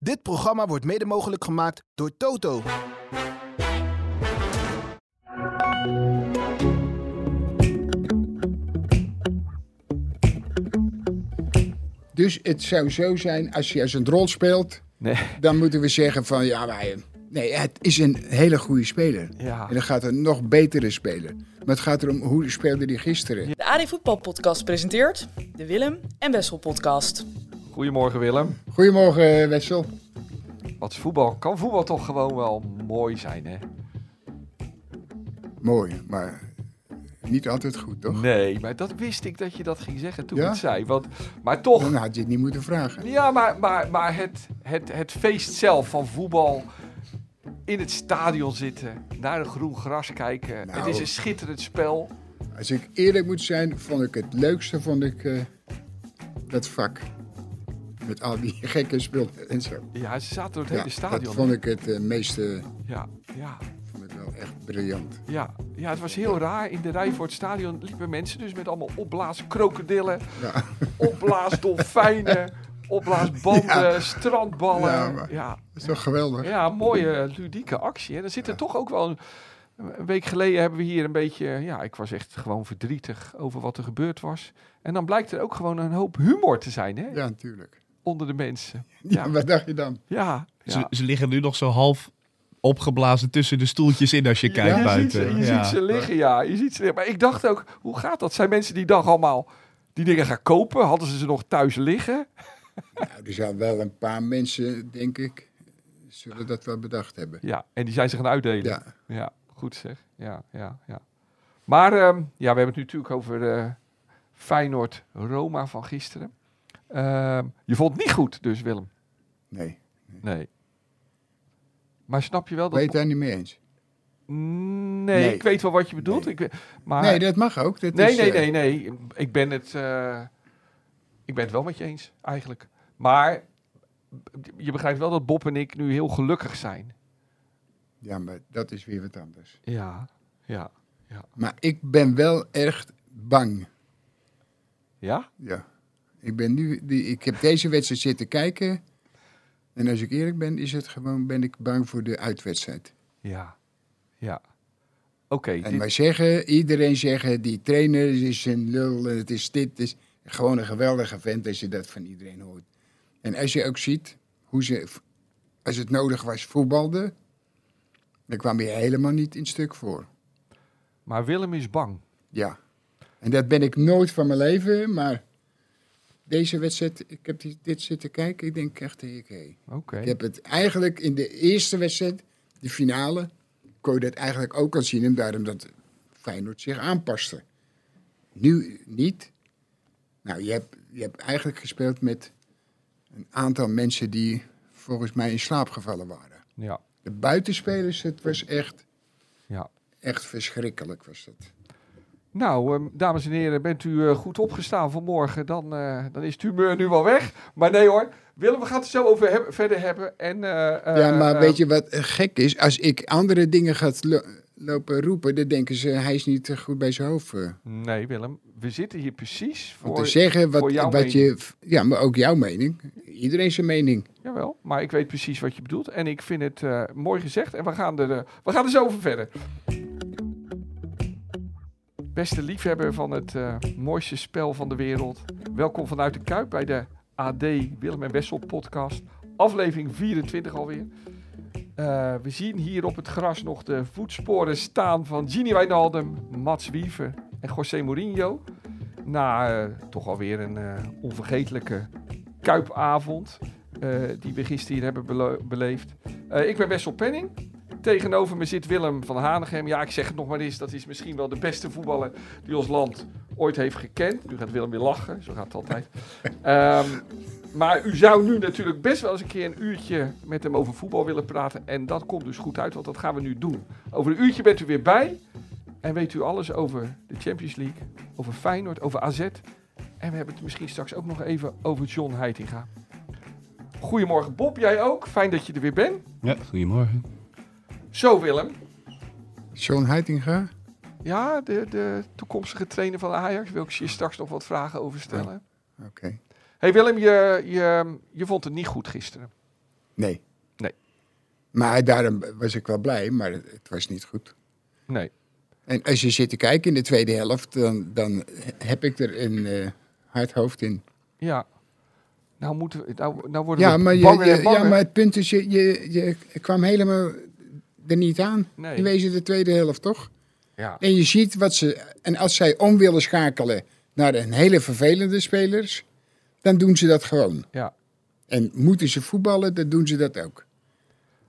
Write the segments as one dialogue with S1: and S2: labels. S1: Dit programma wordt mede mogelijk gemaakt door Toto.
S2: Dus het zou zo zijn, als je als een rol speelt,
S3: Nee.
S2: dan moeten we zeggen van ja, wij. eh, Nee, het is een hele goede speler.
S3: Ja.
S2: En dan gaat er nog betere spelen. Maar het gaat erom hoe speelde die gisteren.
S4: De AD Voetbal Podcast presenteert de Willem en Wessel Podcast.
S3: Goedemorgen Willem.
S2: Goedemorgen, eh, Wessel.
S3: Wat is voetbal? Kan voetbal toch gewoon wel mooi zijn, hè?
S2: Mooi, maar niet altijd goed, toch?
S3: Nee, maar dat wist ik dat je dat ging zeggen toen
S2: Ja?
S3: ik het zei. Want, maar toch,
S2: Dan had je het niet moeten vragen.
S3: ja, maar, maar, maar het, het, het feest zelf van voetbal... In het stadion zitten, naar de groen gras kijken.
S2: Nou.
S3: Het is een schitterend spel.
S2: Als ik eerlijk moet zijn, vond ik het leukste vond ik, eh, dat vak. Met al die gekke spullen en zo.
S3: Ja, ze zaten door het
S2: Ja,
S3: hele stadion.
S2: dat vond ik het eh, meeste
S3: Ja, ja,
S2: vond ik wel echt briljant.
S3: ja, ja, het was heel raar. In de rij voor het stadion liepen mensen dus met allemaal opblaas krokodillen.
S2: Ja.
S3: opblaasdolfijnen, opblaasbanden,
S2: Ja.
S3: strandballen.
S2: Ja,
S3: Ja,
S2: maar-
S3: ja,
S2: Dat is toch geweldig?
S3: mooie eh, ludieke actie. En dan zit er toch ook wel... Een, een week geleden hebben we hier een beetje... Ja, ik was echt gewoon verdrietig over wat er gebeurd was. En dan blijkt er ook gewoon een hoop humor te zijn hè,
S2: Ja, natuurlijk.
S3: onder de mensen.
S2: Ja,
S3: Ja.
S2: wat dacht je dan?
S3: Ja,
S5: Ze,
S3: ja.
S5: ze liggen nu nog zo half opgeblazen tussen de stoeltjes in als je
S3: Ja,
S5: kijkt
S3: je ziet
S5: buiten.
S3: ze, je
S5: ja.
S3: ziet ze liggen, ja. Je ziet ze liggen. Maar ik dacht ook, hoe gaat dat? Zijn mensen die dag allemaal die dingen gaan kopen? Hadden ze ze nog thuis liggen?
S2: Nou, er zijn wel een paar mensen, denk ik, zullen dat wel bedacht hebben.
S3: Ja, en die zijn ze gaan uitdelen.
S2: Ja,
S3: Ja, goed zeg. Ja, ja, ja. Maar ehm, ja, we hebben het nu natuurlijk over eh, Feyenoord-Roma van gisteren. Ehm, je vond het niet goed dus, Willem.
S2: nee.
S3: Nee. Maar snap je wel dat...
S2: Weet daar niet mee eens.
S3: Nee,
S2: Nee.
S3: ik weet wel wat je bedoelt.
S2: Nee.
S3: Ik, we- maar...
S2: Nee, dat mag ook. Dat
S3: nee,
S2: is,
S3: nee,
S2: eh,
S3: nee, nee. Ik ben het, eh, ik ben het wel met je eens, eigenlijk. Maar je begrijpt wel dat Bob en ik nu heel gelukkig zijn.
S2: Ja, maar dat is weer wat anders.
S3: Ja, ja.
S2: Maar ik ben wel echt bang.
S3: Ja?
S2: Ja. Ik, ben nu, die, ik heb deze wedstrijd zitten kijken. En als ik eerlijk ben, is het gewoon, ben ik bang voor de uitwedstrijd.
S3: Ja. Ja. Oké. dit-
S2: En wij zeggen, iedereen zeggen, die trainer is een lul, en het is dit. Het is gewoon een geweldige vent als je dat van iedereen hoort. En als je ook ziet hoe ze, v- als het nodig was, voetbalden, dan kwam je helemaal niet in stuk voor.
S3: Maar Willem is bang.
S2: Ja. En dat ben ik nooit van mijn leven, maar deze wedstrijd, ik heb die- dit zitten kijken, ik denk echt, hé, hé.
S3: Oké.
S2: Ik heb het eigenlijk in de eerste wedstrijd, de finale, kon je dat eigenlijk ook al zien. En daarom dat Feyenoord zich aanpaste. Nu niet. Nou, je hebt, je hebt eigenlijk gespeeld met een aantal mensen die volgens mij in slaap gevallen waren.
S3: Ja,
S2: De buitenspelers, het was echt,
S3: ja.
S2: echt verschrikkelijk was dat.
S3: Nou, ehm, dames en heren, bent u eh, goed opgestaan vanmorgen, dan, eh, dan is het humeur nu wel weg. Maar nee hoor, Willem, we gaan het er zo over heb- verder hebben. En, eh, eh,
S2: ja, maar
S3: eh,
S2: weet je wat eh, gek is? Als ik andere dingen ga lo- lopen roepen, dan denken ze, hij is niet eh, goed bij zijn hoofd. eh.
S3: Nee, Willem, we zitten hier precies
S2: Om
S3: voor...
S2: te zeggen
S3: voor
S2: wat,
S3: jouw
S2: wat je. Ja, maar ook jouw mening. Iedereen zijn mening.
S3: Jawel, maar ik weet precies wat je bedoelt. En ik vind het eh, mooi gezegd. En we gaan, er, eh, we gaan er zo over verder. Beste liefhebber van het eh, mooiste spel van de wereld. Welkom vanuit de Kuip bij de AD Willem en Wessel podcast. Aflevering 24 alweer. Eh, we zien hier op het gras nog de voetsporen staan van Gini Wijnaldum, Mats Wiever en José Mourinho. Na eh, toch alweer een eh, onvergetelijke Kuipavond eh, die we gisteren hier hebben belo- beleefd. Eh, ik ben Wessel Penning. Tegenover me zit Willem van Hanegem. Ja, ik zeg het nog maar eens. Dat is misschien wel de beste voetballer die ons land ooit heeft gekend. Nu gaat Willem weer lachen. Zo gaat het altijd. Ehm, maar u zou nu natuurlijk best wel eens een keer een uurtje met hem over voetbal willen praten. En dat komt dus goed uit, want dat gaan we nu doen. Over een uurtje bent u weer bij. En weet u alles over de Champions League, over Feyenoord, over AZ. En we hebben het misschien straks ook nog even over John Heitinga. Goedemorgen Bob, jij ook. Fijn dat je er weer bent.
S5: Ja, goedemorgen.
S3: Zo Willem.
S2: John Heitinga?
S3: Ja, de, de toekomstige trainer van Ajax. Wil ik je straks nog wat vragen over stellen.
S2: Oh, Oké.
S3: hey Willem, je, je, je vond het niet goed gisteren.
S2: Nee.
S3: Nee.
S2: Maar daarom was ik wel blij, maar het, het was niet goed.
S3: Nee.
S2: En als je zit te kijken in de tweede helft, dan, dan heb ik er een eh, hard hoofd in.
S3: Ja. Nou, moeten we, nou, nou worden
S2: Ja
S3: we
S2: maar, je,
S3: banger
S2: je-
S3: en banger.
S2: ja, maar het punt is, je, je, je kwam helemaal er niet aan.
S3: Nee.
S2: In wezen de tweede helft, toch?
S3: Ja.
S2: En je ziet wat ze... En als zij om willen schakelen naar een hele vervelende spelers, dan doen ze dat gewoon.
S3: Ja.
S2: En moeten ze voetballen, dan doen ze dat ook.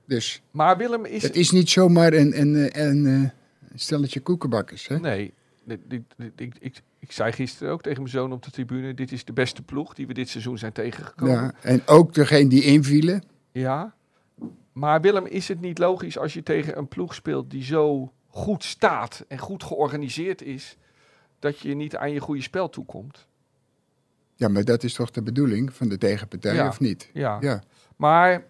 S2: Dus
S3: Maar Willem is...
S2: het is niet zomaar een, een, een, een, eh, stelletje koekenbakkers, hè?
S3: Nee. Dit- dit- dit- ik, ik, ik zei gisteren ook tegen mijn zoon op de tribune... dit is de beste ploeg die we dit seizoen zijn tegengekomen.
S2: Ja, en ook degene die invielen.
S3: Ja. Maar Willem, is het niet logisch als je tegen een ploeg speelt die zo goed staat en goed georganiseerd is, dat je niet aan je goede spel toekomt?
S2: Ja, maar dat is toch de bedoeling van de tegenpartij,
S3: Ja.
S2: of niet?
S3: Ja.
S2: Ja.
S3: Maar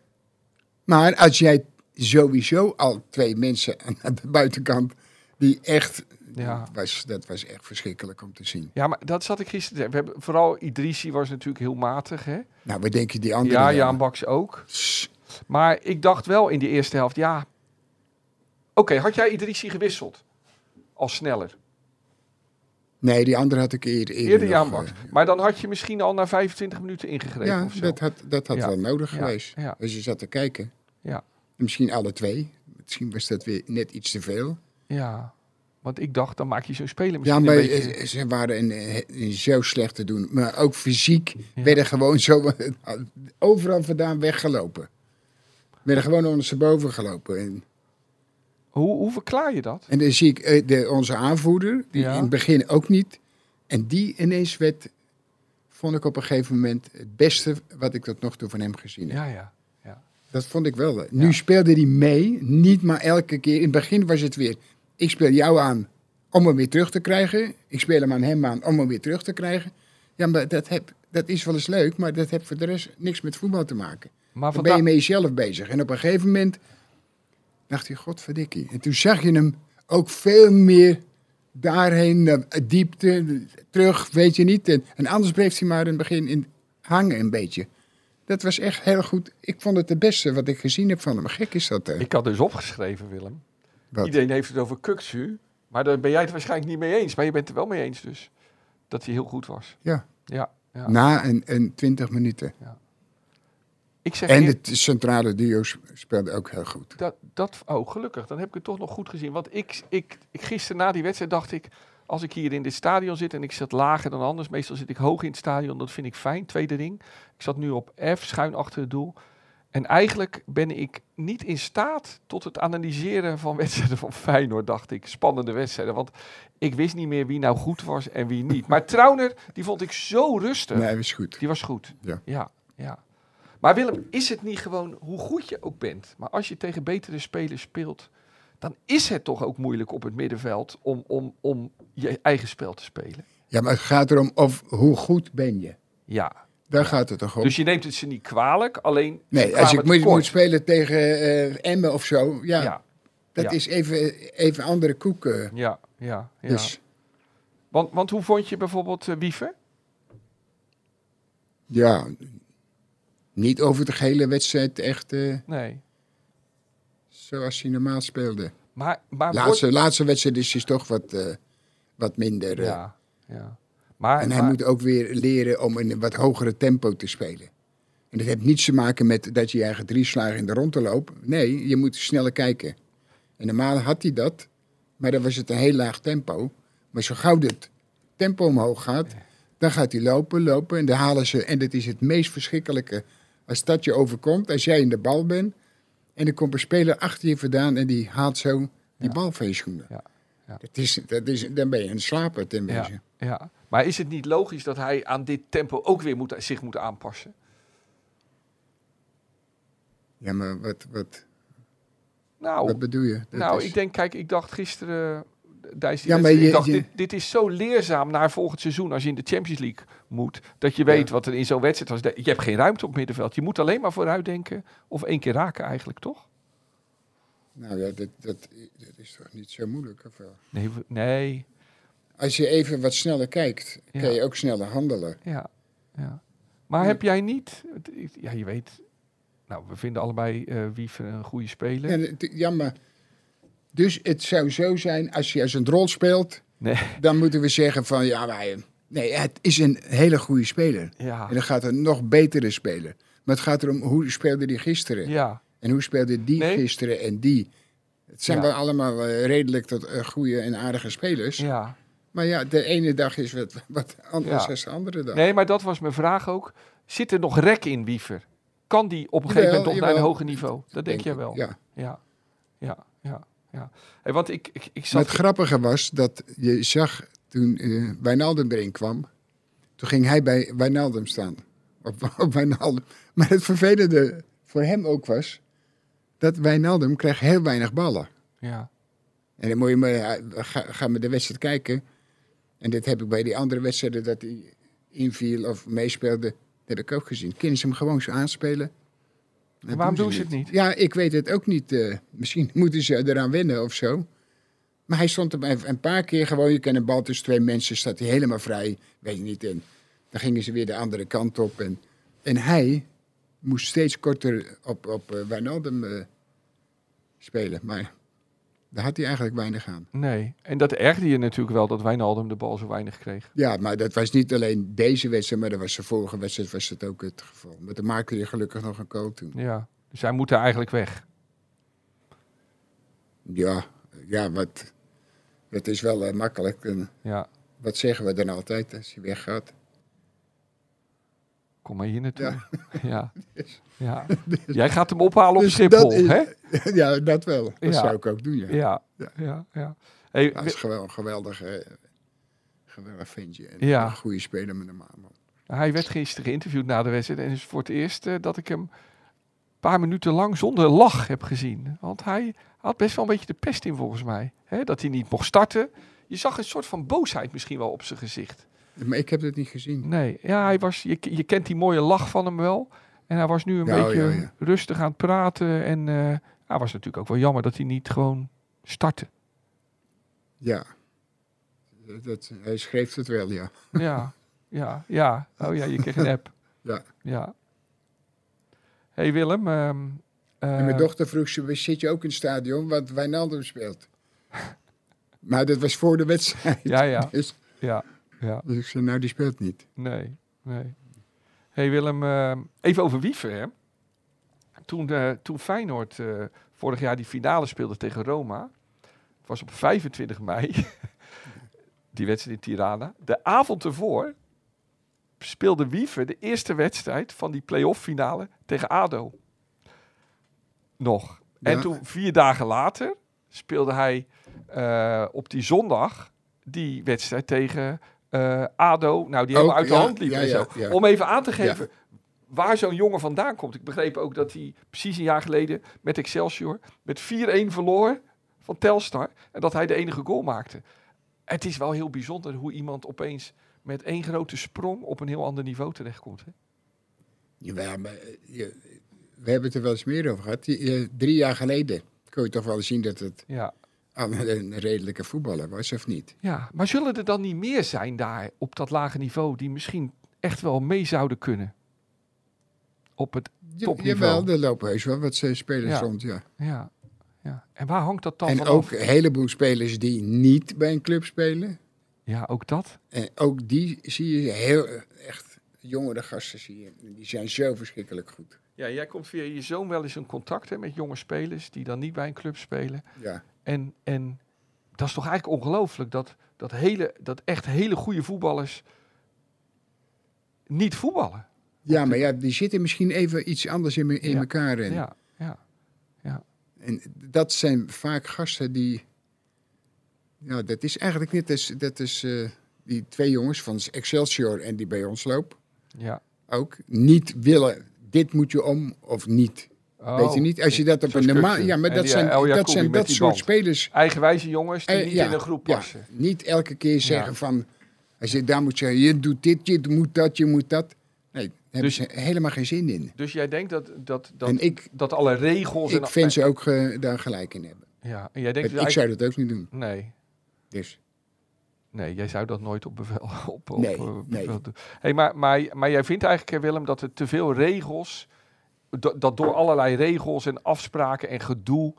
S2: Maar als jij sowieso al twee mensen aan de buitenkant die echt
S3: Ja.
S2: was, dat was echt verschrikkelijk om te zien.
S3: Ja, maar dat zat ik gisteren. te- We hebben, vooral Idrisi was natuurlijk heel matig. Hè?
S2: Nou, wat denk je die andere?
S3: Ja,
S2: dan?
S3: Jaan Baks ook.
S2: Sst.
S3: Maar ik dacht wel in de eerste helft, ja. Oké, had jij Idrisi gewisseld? Als sneller.
S2: Nee, die andere had ik eerder.
S3: Eerder
S2: nog,
S3: Jaan Baks.
S2: eh,
S3: Maar dan had je misschien al na 25 minuten ingegrepen
S2: Ja,
S3: of zo.
S2: dat had, dat had
S3: Ja.
S2: wel nodig
S3: Ja,
S2: geweest.
S3: ja.
S2: Als je zat te kijken.
S3: Ja.
S2: Misschien alle twee. Misschien was dat weer net iets te veel.
S3: ja. Want ik dacht, dan maak je zo'n speler
S2: Ja,
S3: misschien
S2: maar
S3: een beetje...
S2: eh, ze waren in, eh, in zo slecht te doen. Maar ook fysiek
S3: Ja.
S2: werden gewoon zo overal vandaan weggelopen. Werden gewoon ondersteboven gelopen. En,
S3: Hoe, hoe verklaar je dat?
S2: en dan zie ik eh, de, onze aanvoerder, die
S3: Ja.
S2: in het begin ook niet. En die ineens werd, vond ik op een gegeven moment, het beste wat ik tot nog toe van hem gezien heb.
S3: Ja, ja.
S2: Dat vond ik wel. eh.
S3: Ja.
S2: Nu speelde hij mee, niet maar elke keer. In het begin was het weer, ik speel jou aan om hem weer terug te krijgen. Ik speel hem aan hem aan om hem weer terug te krijgen. Ja, maar dat, heb, dat is wel eens leuk, maar dat heeft voor de rest niks met voetbal te maken.
S3: Maar
S2: Dan ben je
S3: vandaag...
S2: met jezelf bezig. En op een gegeven moment dacht hij, godverdikkie. En toen zag je hem ook veel meer daarheen, naar diepte, terug, weet je niet. En, en anders bleef hij maar in het begin in hangen een beetje. Dat was echt heel goed. Ik vond het het beste wat ik gezien heb van hem. Gek is dat, hè?
S3: Ik had dus opgeschreven, Willem.
S2: Wat?
S3: Iedereen heeft het over Kuksu. Maar daar ben jij het waarschijnlijk niet mee eens. Maar je bent het er wel mee eens dus. Dat hij heel goed was.
S2: Ja.
S3: Ja. ja.
S2: Na een, een 20 minuten.
S3: ik zeg
S2: En
S3: eer-
S2: het centrale duo s- speelde ook heel goed.
S3: dat, dat... Oh, gelukkig. Dan heb ik het toch nog goed gezien. Want ik, ik, ik gisteren na die wedstrijd dacht ik... Als ik hier in dit stadion zit en ik zat lager dan anders. Meestal zit ik hoog in het stadion. Dat vind ik fijn. Tweede ring. Ik zat nu op F, schuin achter het doel. En eigenlijk ben ik niet in staat tot het analyseren van wedstrijden van Feyenoord, dacht ik. Spannende wedstrijden, want ik wist niet meer wie nou goed was en wie niet. Maar Trauner, die vond ik zo rustig.
S2: Nee, was goed.
S3: Die was goed.
S2: Ja.
S3: ja, ja. Maar Willem, is het niet gewoon hoe goed je ook bent? Maar als je tegen betere spelers speelt, dan is het toch ook moeilijk op het middenveld om, om, om je eigen spel te spelen.
S2: Ja, maar het gaat erom of hoe goed ben je.
S3: Ja.
S2: Daar gaat het toch om.
S3: Dus je neemt het ze niet kwalijk, alleen. ze
S2: Nee, als
S3: kwamen
S2: ik moet,
S3: tekort.
S2: moet spelen tegen eh, Emmen of zo, ja,
S3: ja,
S2: dat
S3: ja.
S2: is even, even andere koek. eh.
S3: ja, ja. ja.
S2: Dus
S3: Want, want hoe vond je bijvoorbeeld eh, Wiever?
S2: ja, niet over de hele wedstrijd echt eh,
S3: Nee.
S2: zoals hij normaal speelde.
S3: Maar, maar
S2: Laatste, laatste wedstrijd is hij toch wat, eh, wat minder. eh.
S3: wordt- Ja, ja. Maar,
S2: En hij
S3: maar-
S2: moet ook weer leren om in een wat hogere tempo te spelen. En dat heeft niets te maken met dat je je eigen drie slagen in de ronde loopt. Nee, je moet sneller kijken. En normaal had hij dat, maar dan was het een heel laag tempo. Maar zo gauw het tempo omhoog gaat, dan gaat hij lopen, lopen en dan halen ze. En dat is het meest verschrikkelijke als dat je overkomt, als jij in de bal bent. En er komt een speler achter je vandaan en die haalt zo die bal van je schoenen.
S3: Ja, ja.
S2: Dat is, dat is, dan ben je een slaper ten
S3: ja,
S2: wezen.
S3: ja. maar is het niet logisch dat hij aan dit tempo ook weer moet, zich moet aanpassen?
S2: Ja, maar wat, wat,
S3: Nou,
S2: wat bedoel je? Dat
S3: nou
S2: is-
S3: ik denk, kijk, ik dacht gisteren. eh, Dijs, die
S2: Ja, maar
S3: wedstrijd, ik
S2: je-
S3: dacht,
S2: je-
S3: dit, dit is zo leerzaam naar volgend seizoen als je in de Champions League moet. Dat je weet wat er in zo'n wedstrijd was. Je hebt geen ruimte op middenveld. Je moet alleen maar vooruit denken. Of één keer raken eigenlijk, toch?
S2: Nou ja, dat, dat, dat is toch niet zo moeilijk? Of wel?
S3: Nee, we- nee.
S2: Als je even wat sneller kijkt,
S3: Ja.
S2: kan je ook sneller handelen.
S3: Ja, ja. Maar heb jij niet, het- ik- ja, je weet, Nou, we vinden allebei eh Wief een goede speler.
S2: En eh, het- jammer. Dus het zou zo zijn, als je als een rol speelt,
S3: Nee.
S2: dan moeten we zeggen van ja, wij. Nee, het is een hele goede speler.
S3: Ja.
S2: En dan gaat er nog betere spelen. Maar het gaat erom hoe speelde die gisteren?
S3: Ja.
S2: En hoe speelde die
S3: Nee.
S2: gisteren en die? Het zijn
S3: Ja.
S2: wel allemaal eh, redelijk tot eh, goede en aardige spelers.
S3: ja.
S2: Maar ja, de ene dag is wat, wat anders
S3: Ja.
S2: dan de andere dag.
S3: Nee, maar dat was mijn vraag ook. Zit er nog rek in Wiever? Kan die op een gegeven
S2: Jawel,
S3: moment nog naar een
S2: jawel.
S3: hoger niveau? Dat denk jij
S2: ik.
S3: wel.
S2: Ja.
S3: Ja, ja, ja. ja. Hey, want ik, ik, ik
S2: Maar
S3: zat...
S2: het grappige was dat je zag toen eh Wijnaldum erin kwam. Toen ging hij bij Wijnaldum staan. Op, op Wijnaldum. Maar het vervelende voor hem ook was... dat Wijnaldum kreeg heel weinig ballen.
S3: Ja,
S2: En dan moet je maar... ja, Ga, ga maar de wedstrijd kijken. En dit heb ik bij die andere wedstrijden... dat hij inviel of meespeelde... dat heb ik ook gezien. Kunnen ze hem gewoon zo aanspelen? Dat
S3: Waarom doen ze het niet?
S2: Ja, ik weet het ook niet. eh, misschien moeten ze eraan wennen of zo. Maar hij stond er een- een paar keer gewoon. Je kent een bal tussen twee mensen, staat hij helemaal vrij. Weet je niet. En dan gingen ze weer de andere kant op. En, en hij moest steeds korter op, op eh, Wijnaldum eh, spelen. Maar daar had hij eigenlijk weinig aan.
S3: nee. En dat ergde je natuurlijk wel dat Wijnaldum de bal zo weinig kreeg.
S2: Ja, maar dat was niet alleen deze wedstrijd, maar dat was de vorige wedstrijd was dat ook het geval. Maar dan maakte hij gelukkig nog een goal toen.
S3: Ja, dus hij moet er eigenlijk weg.
S2: Ja, ja wat, dat is wel eh, makkelijk. En,
S3: Ja,
S2: Wat zeggen we dan altijd als je weggaat?
S3: kom maar hier naartoe.
S2: Ja.
S3: Ja. ja. Jij gaat hem ophalen op
S2: Dus
S3: Schiphol,
S2: dat is-
S3: hè?
S2: ja, dat wel. Dat
S3: Ja.
S2: zou ik ook doen, ja.
S3: Ja,
S2: Ja.
S3: ja, ja. Hey,
S2: Hij is gewel- een geweldige, eh, geweldig ventje. En
S3: Ja.
S2: Een goede speler met een man.
S3: Hij werd gisteren geïnterviewd na de wedstrijd. En het is voor het eerst eh, dat ik hem een paar minuten lang zonder lach heb gezien. Want hij had best wel een beetje de pest in volgens mij. hè, dat hij niet mocht starten. Je zag een soort van boosheid misschien wel op zijn gezicht.
S2: Maar ik heb dat niet gezien.
S3: Nee, ja, hij was, je, je kent die mooie lach van hem wel. En hij was nu een
S2: Ja, oh,
S3: beetje
S2: ja, ja.
S3: rustig aan het praten. En eh, hij was natuurlijk ook wel jammer dat hij niet gewoon startte.
S2: Ja. Dat, hij schreef het wel, ja.
S3: Ja, ja, ja. Oh ja, je kreeg een app.
S2: Ja.
S3: Ja. hey Willem. ehm,
S2: En mijn
S3: eh,
S2: dochter vroeg ze, zit je ook in het stadion? Want Wijnaldum speelt. maar dat was voor de wedstrijd.
S3: Ja, ja,
S2: Dus,
S3: ja, ja.
S2: dus ik zei, nou, die speelt niet.
S3: Nee, nee. hey Willem, eh, even over Wiever, hè. Toen, eh, toen Feyenoord eh, vorig jaar die finale speelde tegen Roma, het was op 25 mei, die wedstrijd in Tirana. De avond ervoor speelde Wiever de eerste wedstrijd van die play-off finale tegen ADO. Nog. En
S2: Ja.
S3: toen, vier dagen later, speelde hij eh, op die zondag die wedstrijd tegen eh, ADO. Nou, die helemaal
S2: Ook,
S3: uit de
S2: ja,
S3: hand liep
S2: ja,
S3: en
S2: ja,
S3: zo.
S2: ja.
S3: Om even aan te geven waar zo'n jongen vandaan komt. Ik begreep ook dat hij precies een jaar geleden met Excelsior met 4-1 verloor van Telstar. En dat hij de enige goal maakte. Het is wel heel bijzonder hoe iemand opeens met één grote sprong op een heel ander niveau terechtkomt. Hè?
S2: Jawel, maar eh, je- we hebben het er wel eens meer over gehad. Je- je- drie jaar geleden kon je toch wel zien dat het
S3: Ja.
S2: aan een redelijke voetballer was, of niet?
S3: ja, maar zullen er dan niet meer zijn daar op dat lage niveau die misschien echt wel mee zouden kunnen? Op het,
S2: Ja-
S3: Topniveau.
S2: Jawel, er lopen heus wel wat eh, spelers
S3: Ja.
S2: rond, ja.
S3: ja, ja. En waar hangt dat dan
S2: En
S3: van
S2: ook
S3: af?
S2: een heleboel spelers die niet bij een club spelen.
S3: Ja, ook dat.
S2: En ook die zie je heel eh, echt, jongere gasten zie je. En Die zijn zo verschrikkelijk goed.
S3: Ja, jij komt via je zoon wel eens in contact hè, met jonge spelers die dan niet bij een club spelen.
S2: Ja,
S3: En, en dat is toch eigenlijk ongelooflijk dat, dat, hele, dat echt hele goede voetballers niet voetballen.
S2: ja maar ja, die zitten misschien even iets anders in, me- in
S3: Ja.
S2: elkaar. En,
S3: Ja, ja,
S2: en dat zijn vaak gasten die... Ja, dat is eigenlijk net als dat is, eh, die twee jongens van Excelsior en die bij ons lopen.
S3: ja.
S2: Ook niet willen, dit moet je om of niet.
S3: Oh,
S2: Weet je niet? Als je dat op
S3: zo'n
S2: een normaal.
S3: stukje.
S2: Ja, maar
S3: En
S2: dat
S3: die,
S2: zijn
S3: eh, El
S2: dat,
S3: Jacoubi
S2: zijn
S3: met
S2: dat
S3: die
S2: soort
S3: band.
S2: spelers.
S3: Eigenwijze jongens die
S2: Eh,
S3: niet
S2: ja,
S3: in een groep
S2: ja.
S3: passen.
S2: Niet elke keer zeggen van. Als je daar moet zeggen: je doet dit, je moet dat, je moet dat. Nee, daar hebben
S3: Dus-
S2: ze helemaal geen zin in.
S3: Dus jij denkt dat, dat, dat,
S2: En ik-
S3: dat alle regels...
S2: Ik
S3: en,
S2: vind ze ook eh, daar gelijk in hebben.
S3: Ja, en jij denkt...
S2: Ik,
S3: dus eigenlijk-
S2: zou dat ook niet doen.
S3: Nee,
S2: Dus.
S3: Nee, jij zou dat nooit op bevel op, op,
S2: Nee,
S3: eh,
S2: nee.
S3: bevel doen. Hey, maar, maar, maar jij vindt eigenlijk, eh, Willem, dat er te veel regels da- dat door allerlei regels en afspraken en gedoe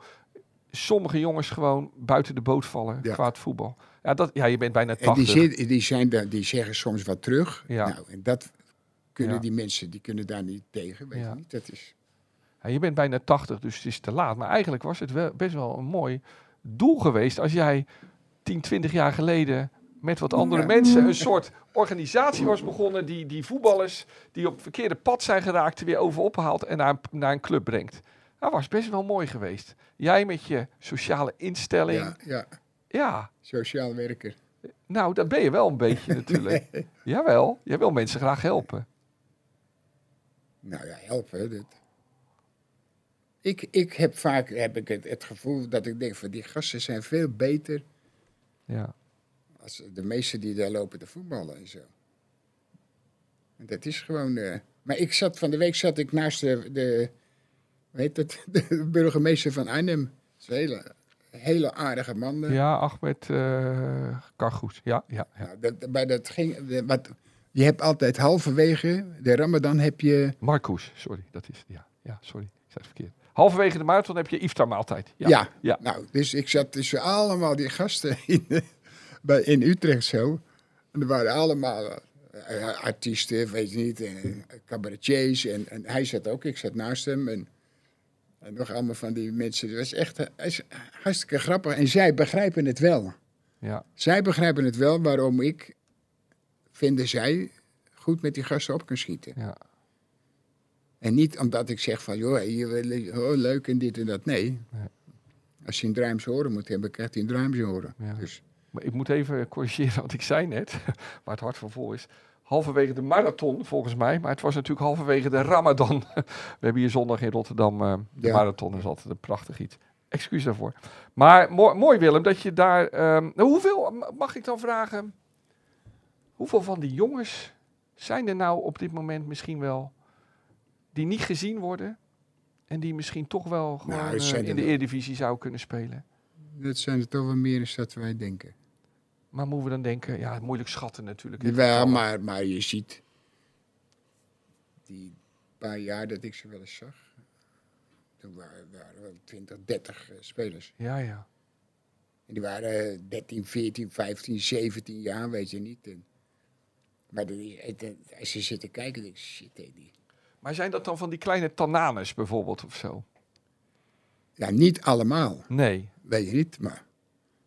S3: sommige jongens gewoon buiten de boot vallen
S2: Ja.
S3: qua het voetbal. Ja, dat, ja, je bent bijna
S2: En
S3: 80.
S2: die, zit, die, zijn, daar- die zeggen soms wat terug.
S3: Ja.
S2: Nou, en dat kunnen
S3: Ja.
S2: die mensen, die kunnen daar niet tegen. Weet
S3: Ja.
S2: je niet, dat is...
S3: Ja, je bent bijna 80, dus het is te laat. Maar eigenlijk was het wel best wel een mooi doel geweest als jij 10, 20 jaar geleden met wat andere
S2: Ja.
S3: mensen een soort organisatie was begonnen die die voetballers die op het verkeerde pad zijn geraakt er weer over ophaalt en naar een, naar een club brengt. Dat was best wel mooi geweest. Jij met je sociale instelling.
S2: Ja,
S3: Ja,
S2: ja, sociaal werker.
S3: nou dat ben je wel een beetje natuurlijk. Jawel, jij wil mensen graag helpen.
S2: Nou ja, helpen. hè, Dit. Ik, ik heb vaak heb ik het, het gevoel dat ik denk van die gasten zijn veel beter
S3: Ja,
S2: als de meesten die daar lopen te voetballen en zo. En dat is gewoon. eh, maar ik zat van de week zat ik naast de, de, hoe heet dat, de burgemeester van Arnhem. Dat is een hele, hele aardige man. eh.
S3: ja Ahmed eh Kargoes. Ja, ja, ja.
S2: Nou, dat, maar dat ging. de- Wat, je hebt altijd halverwege de Ramadan heb je.
S3: Marcus, sorry, dat is ja, ja, sorry, ik zei het verkeerd. Halverwege de marathon heb je iftarmaaltijd.
S2: Ja.
S3: Ja, ja.
S2: Nou, dus ik zat tussen allemaal die gasten in, eh, bij, in Utrecht zo. En er waren allemaal eh, artiesten, weet je niet, en eh, cabaretiers. En, en hij zat ook, ik zat naast hem. En, en nog allemaal van die mensen. Het was echt eh, het is hartstikke grappig. En zij begrijpen het wel.
S3: ja,
S2: Zij begrijpen het wel waarom ik, vinden zij, goed met die gasten op kan schieten.
S3: ja,
S2: En niet omdat ik zeg van, joh, hier, wil- oh, leuk en dit en dat. Nee.
S3: Nee.
S2: Als je een druimse horen moet hebben, krijgt hij een druimse horen.
S3: Ja.
S2: Dus,
S3: Maar ik moet even corrigeren wat ik zei net, waar het hart van vol is. Halverwege de marathon, volgens mij, maar het was natuurlijk halverwege de Ramadan. We hebben hier zondag in Rotterdam eh, de
S2: Ja.
S3: marathon, dat is altijd een prachtig iets. Excuus daarvoor. Maar mooi, mooi Willem, dat je daar. ehm, nou, hoeveel, m- mag ik dan vragen? Hoeveel van die jongens zijn er nou op dit moment misschien wel die niet gezien worden en die misschien toch wel gewoon
S2: Nou, het
S3: eh,
S2: zijn er
S3: in de
S2: wel.
S3: Eredivisie zouden kunnen spelen?
S2: dat zijn er toch wel meer dan dat wij denken.
S3: Maar moeten we dan denken, ja, moeilijk schatten natuurlijk. hè.
S2: Jawel, maar, maar je ziet, die paar jaar dat ik ze wel eens zag, toen waren, waren wel 20, 30 eh, spelers.
S3: Ja, ja.
S2: En die waren eh, 13, 14, 15, 17 jaar, weet je niet. En, maar die- het- het- als je zit te kijken, denk ik, shit, hé, die.
S3: Maar zijn dat dan van die kleine tananes bijvoorbeeld of zo?
S2: Ja, Nou, niet allemaal.
S3: Nee.
S2: Weet je niet, maar...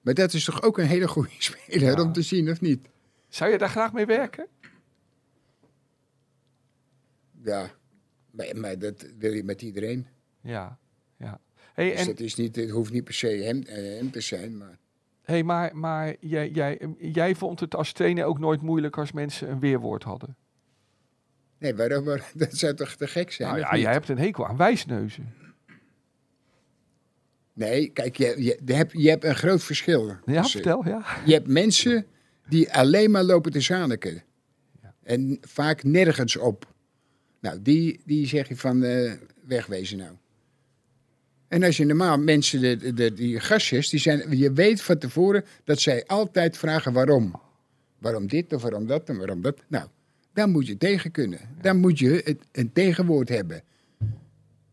S2: Maar dat is toch ook een hele goede speler
S3: Ja.
S2: om te zien, of niet?
S3: Zou je daar graag mee werken?
S2: Ja, maar, maar dat wil je met iedereen.
S3: Ja. ja. Hey,
S2: Dus
S3: en,
S2: dat is niet, het hoeft niet per se hem, eh, hem te zijn, maar...
S3: hey, maar, maar jij, jij, jij vond het als trainer ook nooit moeilijk als mensen een weerwoord hadden.
S2: Nee, waarom? waar- dat zou toch te gek zijn?
S3: nou
S2: of
S3: ja,
S2: niet?
S3: jij hebt een hekel aan wijsneuzen.
S2: Nee, kijk, je, je, je hebt, je hebt een groot verschil.
S3: Ja,
S2: Dus, eh,
S3: vertel, ja.
S2: Je hebt mensen die alleen maar lopen te zaniken.
S3: Ja.
S2: En vaak nergens op. Nou, die, die zeg je van eh, wegwezen nou. En als je normaal mensen, de, de, die gastjes, die zijn, je weet van tevoren dat zij altijd vragen waarom. Waarom dit of waarom dat en waarom dat. Nou, daar moet je tegen kunnen. Dan moet je het, een tegenwoord hebben.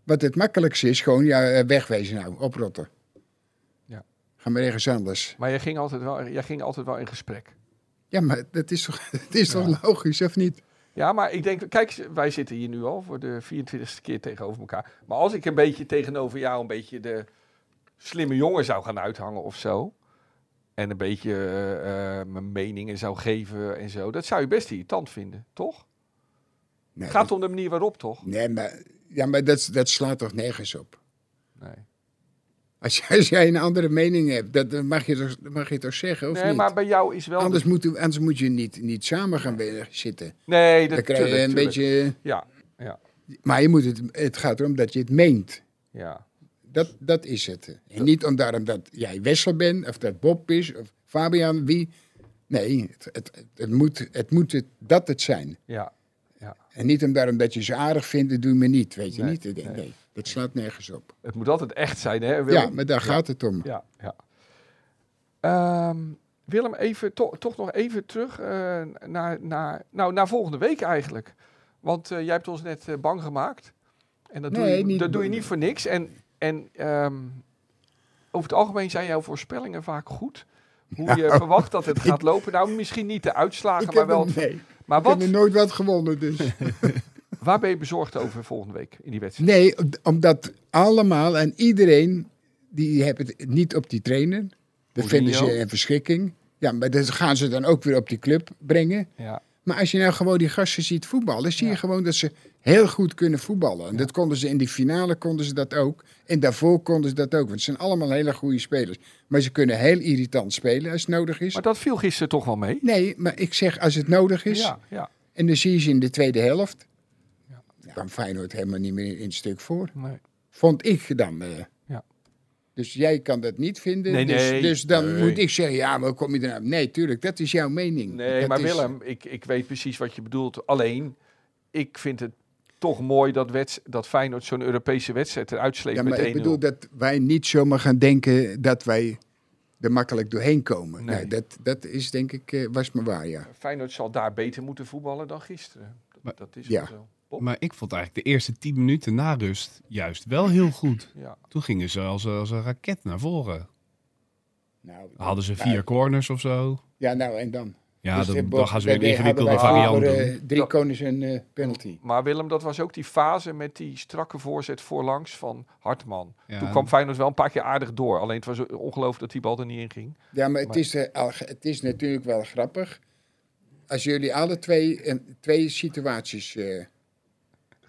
S2: Wat het makkelijkste is, gewoon ja, eh, wegwezen nou, oprotten.
S3: Ja.
S2: Ga maar ergens anders.
S3: Maar jij ging altijd wel, jij ging altijd wel in gesprek.
S2: Ja, maar dat is toch, dat is toch logisch, of niet?
S3: Ja, maar ik denk, kijk, wij zitten hier nu al voor de 24ste keer tegenover elkaar. Maar als ik een beetje tegenover jou een beetje de slimme jongen zou gaan uithangen of zo. En een beetje eh, eh, mijn meningen zou geven en zo. Dat zou je best irritant vinden, toch?
S2: Nee,
S3: Het gaat om de manier waarop, toch?
S2: nee maar, ja, maar dat, dat slaat toch nergens op?
S3: Nee,
S2: Als, jij- als jij een andere mening hebt, dat dat mag je toch, dat mag je toch zeggen, of
S3: nee
S2: niet?
S3: maar bij jou is wel... de-
S2: anders, moet, u- anders moet je niet, niet samen gaan willen zitten.
S3: nee, dat
S2: Dan krijg je
S3: tuurlijk,
S2: een
S3: tuurlijk.
S2: beetje...
S3: Ja,
S2: Maar je moet het, het gaat erom dat je het meent.
S3: ja,
S2: Dat, dat is het. En niet om daarom dat jij Wessel bent, of dat Bob is, of Fabian, wie. Nee, het, het, het moet, het moet het, dat het zijn.
S3: ja.
S2: En niet om daarom dat je ze aardig vindt, doe me niet, weet je
S3: Nee,
S2: niet? Nee,
S3: nee.
S2: nee, dat slaat nergens op.
S3: Het moet altijd echt zijn, hè? Willem?
S2: Ja, maar daar gaat het om.
S3: Ja, ja. Ehm, Willem, even, to- toch nog even terug eh, naar, naar, nou, naar volgende week eigenlijk. Want eh, jij hebt ons net eh, bang gemaakt. En dat,
S2: Nee,
S3: doe, je,
S2: niet
S3: dat doe je
S2: doen.
S3: niet voor niks. En, en ehm, over het algemeen zijn jouw voorspellingen vaak goed. Hoe je verwacht dat het gaat lopen. Nou, misschien niet de uitslagen,
S2: Ik
S3: maar
S2: heb,
S3: wel.
S2: er- nee, ik
S3: Maar
S2: heb
S3: wat,
S2: er nooit wat gewonnen, dus.
S3: waar ben je bezorgd over volgende week in die wedstrijd?
S2: Nee, om- omdat allemaal en iedereen die hebben het niet op die trainer. Dat
S3: Mourinho.
S2: vinden ze een verschrikking. Ja, maar dat gaan ze dan ook weer op die club brengen.
S3: Ja,
S2: Maar als je nou gewoon die gasten ziet voetballen, zie je
S3: Ja.
S2: gewoon dat ze heel goed kunnen voetballen. En dat konden ze in die finale konden ze dat ook. En daarvoor konden ze dat ook. Want het zijn allemaal hele goede spelers. Maar ze kunnen heel irritant spelen als het nodig is.
S3: maar dat viel gisteren toch wel mee.
S2: Nee, maar ik zeg als het nodig is.
S3: Ja, ja.
S2: En dan zie je ze in de tweede helft. Dan kwam Feyenoord helemaal niet meer in het stuk voor.
S3: Nee.
S2: Vond ik dan. eh.
S3: Ja.
S2: Dus jij kan dat niet vinden.
S3: Nee,
S2: dus,
S3: nee.
S2: dus dan
S3: Nee.
S2: moet ik zeggen, ja, maar hoe kom je er nou? Nee, tuurlijk, dat is jouw mening.
S3: Nee,
S2: Dat
S3: maar
S2: is-
S3: Willem, ik, ik weet precies wat je bedoelt. Alleen, ik vind het toch mooi dat, wets, dat Feyenoord zo'n Europese wedstrijd eruit sleept
S2: Ja,
S3: met
S2: maar
S3: 1-0.
S2: ik bedoel dat wij niet zomaar gaan denken dat wij er makkelijk doorheen komen.
S3: Nee.
S2: Nee, dat, dat is denk ik, eh, was me waar, ja.
S3: Feyenoord zal daar beter moeten voetballen dan gisteren. Dat,
S5: Maar-
S3: dat is
S2: Ja.
S3: wel zo. Bob?
S5: Maar ik vond eigenlijk de eerste 10 minuten na rust juist wel heel goed.
S3: Ja.
S5: Toen gingen ze als, als een raket naar voren.
S2: Nou,
S5: Dan hadden ze vier corners of zo.
S2: Ja, nou en dan?
S5: Ja,
S2: Dus, eh,
S5: dan,
S2: Bob,
S5: dan gaan ze weer een
S2: bij-
S5: ingewikkelde
S2: hadden wij
S5: variant
S2: vroeger,
S5: doen.
S2: eh, drie konings en eh, penalty.
S3: Maar Willem, dat was ook die fase met die strakke voorzet voorlangs van Hartman.
S5: Ja.
S3: Toen kwam Feyenoord wel een paar keer aardig door. Alleen het was ongelooflijk dat die bal er niet in ging.
S2: Ja, maar het
S3: Maar-
S2: is, eh, al- het is natuurlijk wel grappig. Als jullie alle twee, en twee situaties eh,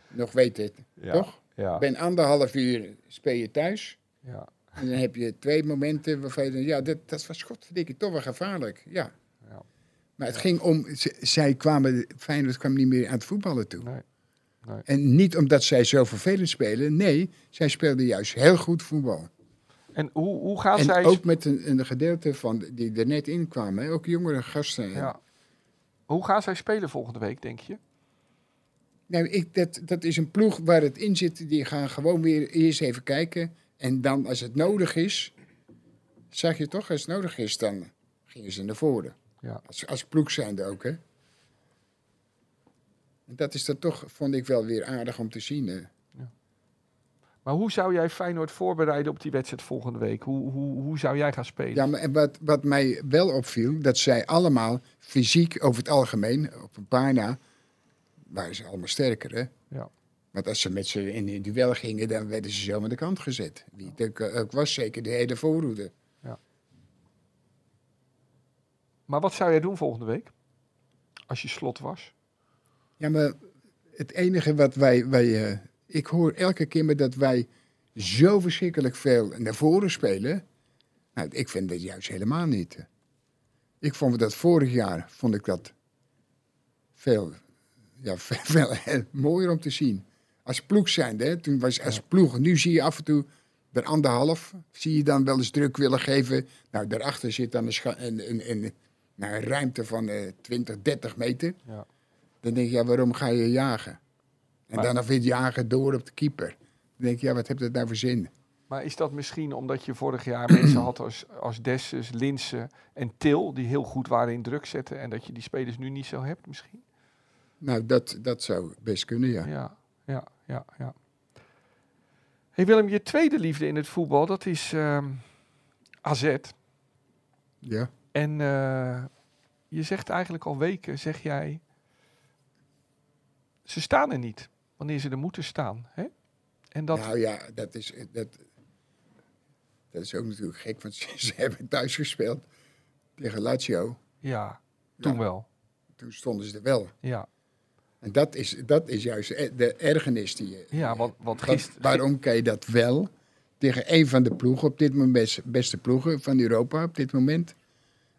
S2: nog weten,
S3: Ja.
S2: toch?
S3: Ja,
S2: Bij een anderhalf uur speel je thuis.
S3: ja.
S2: En dan heb je twee momenten waarvan je denkt, ja, dat, dat was godverdikke toch wel gevaarlijk. Ja.
S3: Ja.
S2: Maar het ging om, z- zij kwamen, Feyenoord kwam niet meer aan het voetballen toe.
S3: Nee. Nee.
S2: En niet omdat zij zo vervelend spelen. Nee, zij speelden juist heel goed voetbal.
S3: En hoe, hoe gaan
S2: en
S3: zij...
S2: ook met een, een gedeelte van die er net in kwamen. hè, Ook jongere gasten.
S3: ja. Hoe gaan zij spelen volgende week, denk je?
S2: Nou, ik, dat, dat is een ploeg waar het in zit. Die gaan gewoon weer eerst even kijken. En dan als het nodig is, zag je toch, als het nodig is, dan gingen ze naar voren.
S3: Ja.
S2: Als, als ploeg zijnde ook, hè. En dat is dan toch, vond ik wel weer aardig om te zien. Hè.
S3: Maar hoe zou jij Feyenoord voorbereiden op die wedstrijd volgende week? Hoe, hoe, hoe zou jij gaan spelen?
S2: Ja, maar en wat, wat mij wel opviel, dat zij allemaal fysiek over het algemeen, op een paar na, waren ze allemaal sterker, hè?
S3: Ja.
S2: Want als ze met ze in een duel gingen, dan werden ze zo aan de kant gezet. Wie het ook, eh, ook was, zeker de hele voorhoede.
S3: Maar wat zou jij doen volgende week? Als je slot was?
S2: Ja, maar het enige wat wij... wij eh, ik hoor elke keer maar dat wij zo verschrikkelijk veel naar voren spelen. Nou, ik vind dat juist helemaal niet. Ik vond dat vorig jaar vond ik dat veel, ja, veel, veel heel mooier om te zien. Als ploeg zijnde, hè, toen was als ploeg. Nu zie je af en toe de anderhalf, zie je dan wel eens druk willen geven. Nou, daarachter zit dan een, scha- een, een, een, nou, een ruimte van eh 20, 30 meter.
S3: Ja.
S2: Dan denk je, ja, waarom ga je jagen? En
S3: Maar-
S2: dan nog weer jagen door op de keeper. Dan denk je, ja, wat heeft dat nou voor zin?
S3: Maar is dat misschien omdat je vorig jaar mensen had als, als Dessus, Linsen en Til, die heel goed waren in druk zetten en dat je die spelers nu niet zo hebt misschien?
S2: Nou, dat, dat zou best kunnen, ja.
S3: ja, ja, ja. ja. hey Willem, je tweede liefde in het voetbal, dat is ehm, AZ.
S2: ja.
S3: En eh, je zegt eigenlijk al weken, zeg jij, ze staan er niet wanneer ze er moeten staan. Hè? En dat,
S2: Nou ja, dat is, dat, dat is ook natuurlijk gek, want ze, ze hebben thuis gespeeld tegen Lazio.
S3: ja, toen
S2: Ja.
S3: wel.
S2: Toen stonden ze er wel.
S3: Ja,
S2: En dat is, dat is juist e- de ergernis die je...
S3: ja want, want
S2: Want
S3: gisteren...
S2: waarom kan je dat wel tegen een van de ploegen, op dit moment best- beste ploegen van Europa op dit moment?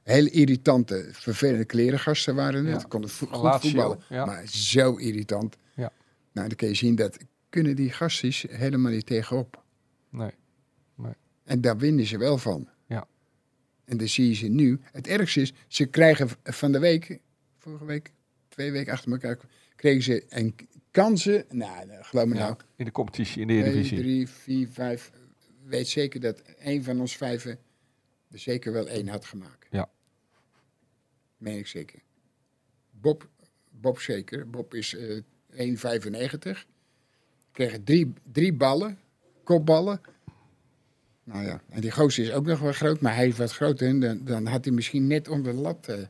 S2: Heel irritante, vervelende klerengasten waren het.
S3: Ja.
S2: Konden vo- goed
S3: Lazio,
S2: voetballen,
S3: ja.
S2: maar zo irritant.
S3: Ja.
S2: Nou, dan kun je zien dat kunnen die gastjes helemaal niet tegenop.
S3: Nee.
S2: En daar winnen ze wel van.
S3: Ja.
S2: En dan zie je ze nu. Het ergste is, ze krijgen v- van de week, vorige week, twee weken achter elkaar, kregen ze een k- kansen. Nou, nou, geloof me
S3: Ja,
S2: nou.
S3: in de competitie, in de
S2: Twee,
S3: Eredivisie.
S2: drie, vier, vijf. Weet zeker dat één van ons vijven er zeker wel één had gemaakt.
S3: Ja.
S2: Meen ik zeker. Bob, Bob zeker. Bob is eh 1,95. kregen drie, drie ballen, kopballen. Nou ja, en die gozer is ook nog wel groot, maar hij is wat groter. En dan, dan had hij misschien net onder de lat. eh.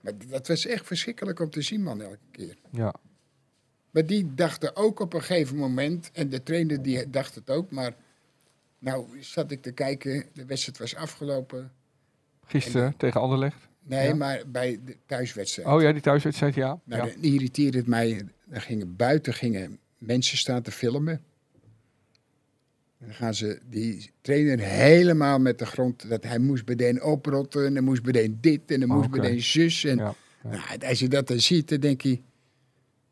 S2: Maar d- dat was echt verschrikkelijk om te zien, man, elke keer.
S3: Ja.
S2: Maar die dachten ook op een gegeven moment, en de trainer die dacht het ook, maar nou zat ik te kijken, de wedstrijd was afgelopen.
S3: Gisteren tegen Anderlecht.
S2: Nee,
S3: Ja.
S2: maar bij de thuiswedstrijd.
S3: Oh ja, die thuiswedstrijd, ja.
S2: Nou,
S3: ja.
S2: dan irriteerde het mij. Dan gingen buiten gingen mensen staan te filmen. En Dan gaan ze die trainer helemaal met de grond. Dat hij moest meteen oprotten. En hij moest meteen dit. En hij moest
S3: Oh, Oké.
S2: meteen zus. En
S3: Ja, ja.
S2: Nou, als je dat dan ziet, dan denk je...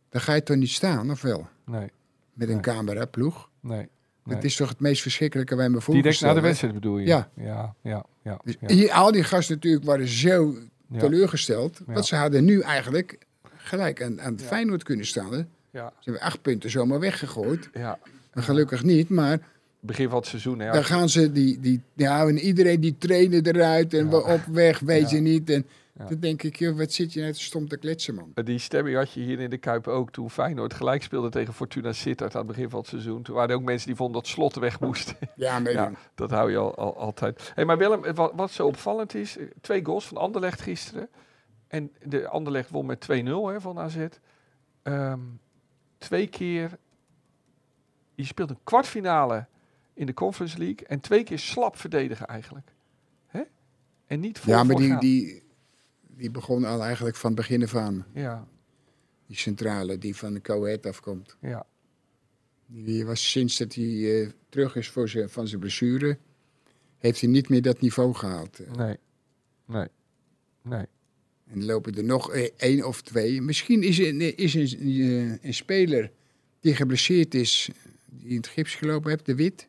S2: Dan ga je toch niet staan, of wel?
S3: Nee,
S2: Met een
S3: Nee.
S2: cameraploeg.
S3: nee.
S2: Dat is toch het meest verschrikkelijke waar je me
S3: Die denkt naar de
S2: voorgesteld hebt?
S3: wedstrijd bedoel je?
S2: Ja.
S3: Ja, ja, ja.
S2: Dus
S3: ja.
S2: hier- Al die gasten natuurlijk waren zo
S3: Ja.
S2: teleurgesteld.
S3: Ja.
S2: Want ze hadden nu eigenlijk gelijk aan, aan Feyenoord kunnen staan. hè?
S3: ja.
S2: Ze hebben acht punten zomaar weggegooid.
S3: ja.
S2: En gelukkig niet, maar
S3: Begin van het seizoen, hè.
S2: dan gaan ze die, die ja, en iedereen die trainen eruit en
S3: Ja.
S2: we op weg, weet
S3: Ja.
S2: je niet. En
S3: Ja.
S2: dan denk ik, joh, wat zit je net stom te kletsen, man.
S3: Die stemming had je hier in de Kuip ook toen Feyenoord gelijk speelde tegen Fortuna Sittard aan het begin van het seizoen. Toen waren er ook mensen die vonden dat Slot weg moest.
S2: Ja, maar
S3: ja, dat hou je al, al- altijd. Hey, maar Willem, wat, wat zo opvallend is, eh, twee goals van Anderlecht gisteren. En de Anderlecht won met 2-0 hè, van AZ. Ehm, twee keer, je speelt een kwartfinale in de Conference League en twee keer slap verdedigen eigenlijk. Hè? En niet vol
S2: ja, maar
S3: voor
S2: die,
S3: gaan.
S2: die, die begon al eigenlijk van het begin af aan.
S3: Ja,
S2: Die centrale die van de Coët afkomt.
S3: ja,
S2: Die was sinds dat hij eh, terug is voor zijn, van zijn blessure, heeft hij niet meer dat niveau gehaald.
S3: nee, nee, nee.
S2: En er lopen er nog eh, één of twee. Misschien is een, is een, eh, een speler die geblesseerd is, die in het gips gelopen heeft, de wit.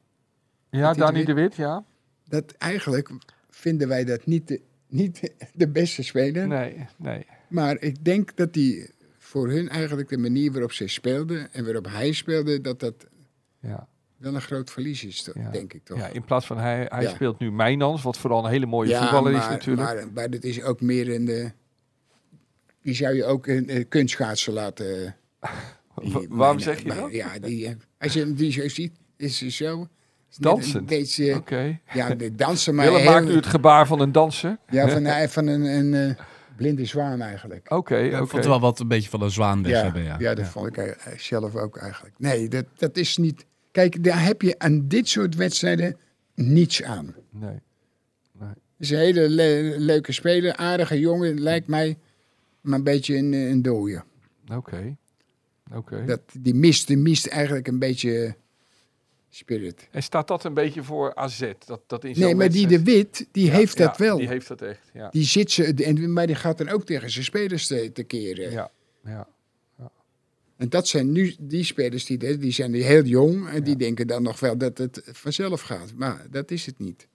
S3: Ja,
S2: Met die
S3: Dani
S2: drie-
S3: de Wit, ja.
S2: Dat eigenlijk vinden wij dat niet de, niet de beste speler.
S3: Nee, nee.
S2: Maar ik denk dat die voor hun eigenlijk de manier waarop zij speelden en waarop hij speelde, dat dat
S3: Ja.
S2: wel een groot verlies is, toch?
S3: Ja.
S2: denk ik toch.
S3: Ja, in plaats van hij, hij
S2: Ja.
S3: speelt nu Mijnans, wat vooral een hele mooie
S2: Ja,
S3: voetballer is
S2: maar-
S3: natuurlijk.
S2: Maar, maar dat is ook meer een... eh, die zou je ook een, een kunstschaatsen laten... eh, Die-
S3: Wa-
S2: maar-
S3: waarom zeg je
S2: maar-
S3: dat?
S2: Ja, die, eh, als je hem die zo ziet, is ze zo... is net Een
S3: Dansend.
S2: beetje,
S3: Oké.
S2: ja, de dansen, maar
S3: Willem
S2: heel-
S3: maakt nu het gebaar van een danser.
S2: Ja, van, eh, van een, een eh, blinde zwaan eigenlijk.
S3: Oké, oké.
S5: Ik vond het wel wat een beetje van een zwaanles
S2: ja,
S5: hebben, ja.
S2: ja, dat vond ik eh, zelf ook eigenlijk. Nee, dat, dat is niet... Kijk, daar heb je aan dit soort wedstrijden niets aan.
S3: Nee.
S2: is een hele le- leuke speler, aardige jongen, lijkt mij. Maar een beetje een, een dooie.
S3: Oké. Oké.
S2: Dat, die, mist, die mist eigenlijk een beetje spirit.
S3: En staat dat een beetje voor AZ? Dat, dat in zo'n
S2: Nee, maar die de
S3: wedstrijd-
S2: Wit, die heeft
S3: Ja,
S2: dat wel.
S3: Die
S2: Die,
S3: heeft dat echt, ja.
S2: zit ze, en, maar die gaat dan ook tegen zijn spelers te, te keren.
S3: Ja, ja.
S2: En dat zijn nu die spelers, die, de- die zijn heel jong. En die denken dan nog wel dat het vanzelf gaat. Maar dat is het niet.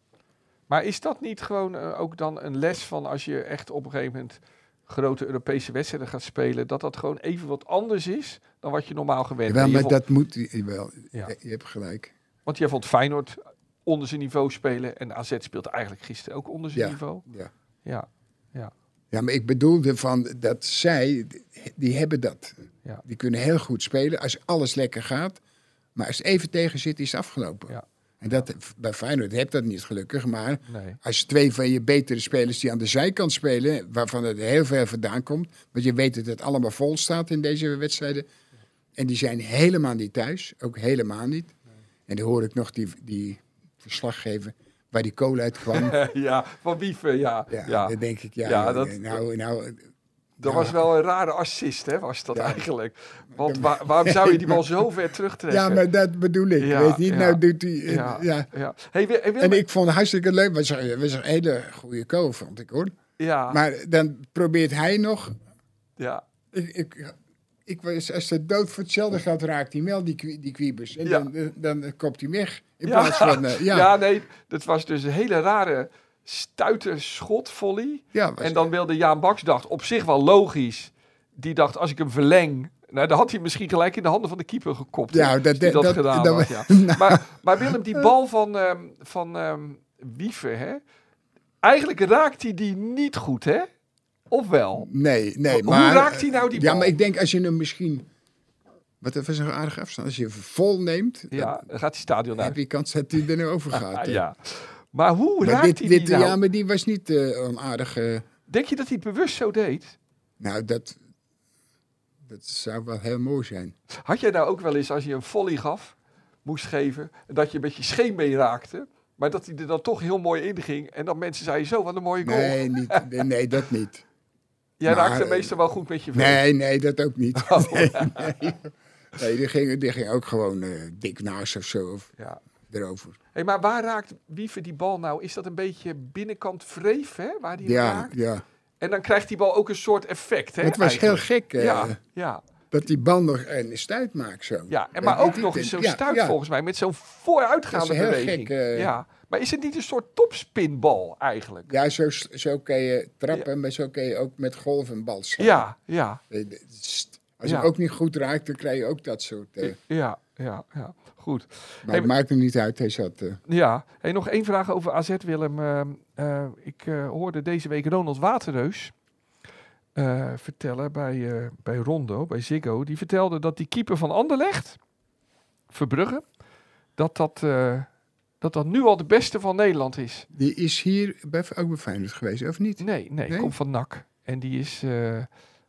S3: Maar is dat niet gewoon eh, ook dan een les van als je echt op een gegeven moment grote Europese wedstrijden gaat spelen, dat dat gewoon even wat anders is dan wat je normaal gewend
S2: Jawel,
S3: bent? Je
S2: maar
S3: vond-
S2: dat moet je wel.
S3: Ja.
S2: Je hebt gelijk.
S3: Want jij vond Feyenoord onder zijn niveau spelen. En AZ speelt eigenlijk gisteren ook onder zijn
S2: Ja.
S3: niveau.
S2: Ja.
S3: Ja,
S2: Ja, maar ik bedoelde van dat zij, die hebben dat.
S3: Ja.
S2: Die kunnen heel goed spelen als alles lekker gaat. Maar als het even tegen zit, is het afgelopen.
S3: Ja.
S2: En dat, bij Feyenoord heb dat niet gelukkig. Maar
S3: nee.
S2: als twee van je betere spelers die aan de zijkant spelen... waarvan het heel veel vandaan komt... want je weet dat het allemaal vol staat in deze wedstrijden... en die zijn helemaal niet thuis, ook helemaal niet. En dan hoor ik nog die, die verslaggever waar die kool uit kwam.
S3: ja, van Wieven, ja.
S2: ja,
S3: ja,
S2: Dan denk ik, ja,
S3: Ja, dat-
S2: nou, nou,
S3: Dat
S2: ja.
S3: was wel een rare assist, hè, was dat
S2: Ja.
S3: eigenlijk. Want waar- waarom zou je die bal zo ver terugtrekken?
S2: Ja, maar dat bedoel ik.
S3: Ja,
S2: weet niet,
S3: ja.
S2: nou doet hij... eh,
S3: Ja,
S2: Ja.
S3: ja. Hey, Wil- hey, Willem,
S2: En ik vond het hartstikke leuk. was, een- was een hele goede kool, vond ik hoor.
S3: Ja,
S2: Maar dan probeert hij nog...
S3: ja,
S2: Ik, ik, ik was, als de dood voor hetzelfde geld raakt hij hem wel, die, kwi- die kwiebers. En
S3: Ja.
S2: dan, eh, dan, eh, kopt hij hem weg. In
S3: Ja.
S2: plaats van... eh, ja,
S3: ja.
S2: ja.
S3: nee, dat was dus een hele rare stuiterschotvolley.
S2: was-
S3: En dan wilde Jaan Baks, dacht op zich wel logisch. Die dacht, als ik hem verleng. Nou, dan had hij misschien gelijk in de handen van de keeper gekopt.
S2: Ja,
S3: hè,
S2: dat-
S3: als die
S2: dat-
S3: gedaan
S2: dat- Nou.
S3: had, ja. maar, maar Willem, die bal van, ehm van ehm Wieven, hè? Eigenlijk raakt hij die niet goed, hè? Of wel?
S2: Nee, nee.
S3: Hoe
S2: maar, eh,
S3: raakt hij nou die
S2: Ja,
S3: bal?
S2: maar ik denk als je hem misschien Wat dat was een aardige afstand. Als je vol neemt, dan
S3: Ja, dan gaat die stadion
S2: heb
S3: uit.
S2: je kans dat hij er nou over gaat.
S3: Ah,
S2: hè.
S3: ja. Maar hoe
S2: Maar
S3: raakt
S2: dit,
S3: hij
S2: dit,
S3: die nou?
S2: Ja, maar die was niet eh, onaardig. eh,
S3: Denk je dat hij het bewust zo deed?
S2: nou, dat, dat zou wel heel mooi zijn.
S3: Had jij nou ook wel eens, als je een volley gaf, moest geven, dat je een beetje scheenbeen raakte, maar dat hij er dan toch heel mooi in ging en dat mensen zeiden, zo, wat een mooie goal.
S2: Nee, niet, nee, nee, dat niet.
S3: jij
S2: maar,
S3: raakte
S2: eh,
S3: meestal wel goed met je veen.
S2: Nee, nee, dat ook niet.
S3: Oh.
S2: Nee, nee. Nee, die ging, die ging ook gewoon eh, dik naast of zo of
S3: Ja.
S2: erover.
S3: Hey, maar waar raakt Wiever die bal nou? Is dat een beetje binnenkant wreef, hè? Waar die hem
S2: Ja,
S3: raakt?
S2: ja.
S3: En dan krijgt die bal ook een soort effect, hè?
S2: Het was heel
S3: eigenlijk?
S2: gek eh,
S3: Ja, ja,
S2: dat die bal nog een stuit maakt zo.
S3: ja. En
S2: Dat
S3: maar ook
S2: die-
S3: nog
S2: die-
S3: eens zo'n
S2: ja,
S3: stuit
S2: ja.
S3: volgens mij, met zo'n vooruitgaande
S2: Dat is heel
S3: beweging.
S2: gek, eh.
S3: Ja. Maar is het niet een soort topspinbal eigenlijk?
S2: Ja, zo, zo kan je trappen, maar zo kan je ook met golf een bal slaan.
S3: Ja, ja,
S2: Eh, de- st- Als je
S3: Ja.
S2: ook niet goed raakt, dan krijg je ook dat soort. eh,
S3: ja, ja, ja. Goed.
S2: maar het
S3: maar-
S2: maakt er niet uit, hij zat. eh,
S3: Ja, hey, nog één vraag over AZ, Willem. Ehm, eh, ik eh, hoorde deze week Ronald Waterreus eh, vertellen bij, eh, bij Rondo, bij Ziggo. Die vertelde dat die keeper van Anderlecht, Verbrugge, dat dat, eh, dat dat nu al de beste van Nederland is.
S2: die is hier bij, ook bij Feyenoord geweest, of niet?
S3: Nee, nee,
S2: Nee?
S3: komt van NAC. En die is, eh,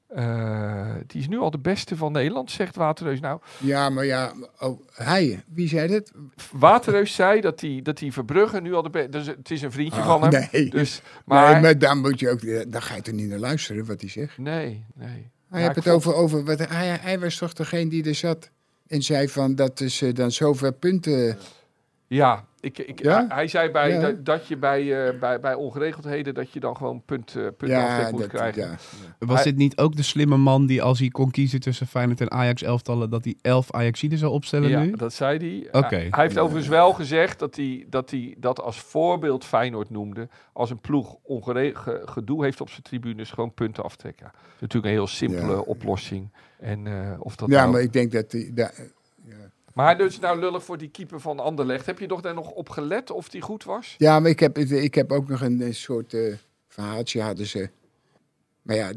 S3: eh, die is nu al de beste van Nederland, zegt Waterreus. Nou,
S2: Ja, maar ja, oh, hij, wie zei dat?
S3: Waterreus zei dat die, dat die Verbrugge nu al de beste... Dus het is een vriendje
S2: Ah,
S3: van hem.
S2: nee.
S3: Dus,
S2: Maar,
S3: maar,
S2: maar dan moet je ook, dan ga je toch niet naar luisteren wat hij zegt.
S3: Nee, nee.
S2: Hij
S3: Ja,
S2: heeft
S3: ik
S2: het over,
S3: vond-
S2: over wat, hij, hij was toch degene die er zat en zei van dat is eh, dan zoveel punten.
S3: Ja, ik, ik,
S2: Ja?
S3: hij- hij zei bij,
S2: Ja.
S3: dat, dat je bij, eh, bij, bij ongeregeldheden dat je dan gewoon punt, eh punt aftrek moet
S2: dat,
S3: krijgen.
S2: ja.
S5: Was dit niet ook de slimme man die als hij kon kiezen tussen Feyenoord en Ajax elftallen, dat hij elf Ajaxiden zou opstellen
S3: Ja,
S5: nu?
S3: dat zei hij.
S5: Oké.
S3: Hij- Hij heeft overigens wel gezegd dat hij, dat hij dat als voorbeeld Feyenoord noemde. Als een ploeg ongeregen gedoe heeft op zijn tribunes, gewoon punten aftrekken. Dat is natuurlijk een heel simpele
S2: Ja.
S3: oplossing. En, eh, of dat
S2: ja,
S3: nou-
S2: maar ik denk dat die, da-
S3: maar dus nou lullig voor die keeper van Anderlecht. Heb je toch daar nog op gelet of die goed was?
S2: Ja, maar ik heb, het- ik heb ook nog een, eh, soort eh, verhaaltje hadden ze. Maar ja,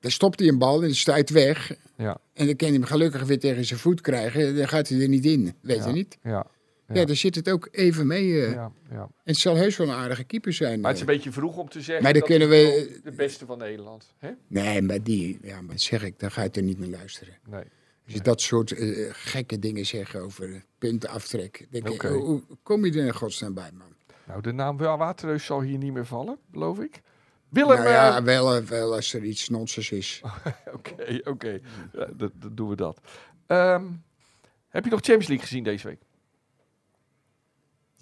S2: dan stopt hij een bal en dan stuit weg.
S3: Ja.
S2: En dan kan hij hem gelukkig weer tegen zijn voet krijgen. Dan gaat hij er niet in, weet
S3: Ja.
S2: je niet?
S3: Ja,
S2: Ja,
S3: Ja.
S2: daar zit het ook even mee. eh.
S3: ja, ja.
S2: En het zal heus wel een aardige keeper zijn.
S3: Maar het is
S2: eh.
S3: een beetje vroeg om te zeggen
S2: Maar dan
S3: dat
S2: kunnen
S3: hij
S2: we-
S3: wel de beste van Nederland. Hè?
S2: Nee, maar die, ja, maar dat zeg ik, dan ga je er niet meer luisteren.
S3: Nee.
S2: Als je dat soort eh, gekke dingen zegt over eh, puntenaftrek. Denk
S3: Oké.
S2: ik, hoe, hoe kom je er in godsnaam bij, man?
S3: Nou, de naam Wa- Waterreus zal hier niet meer vallen, beloof ik. Willem,
S2: nou ja,
S3: eh,
S2: wel, eh, wel als er iets nonsens is.
S3: oké, oké. Ja, dat, dat doen we dat. Ehm, heb je nog Champions League gezien deze week?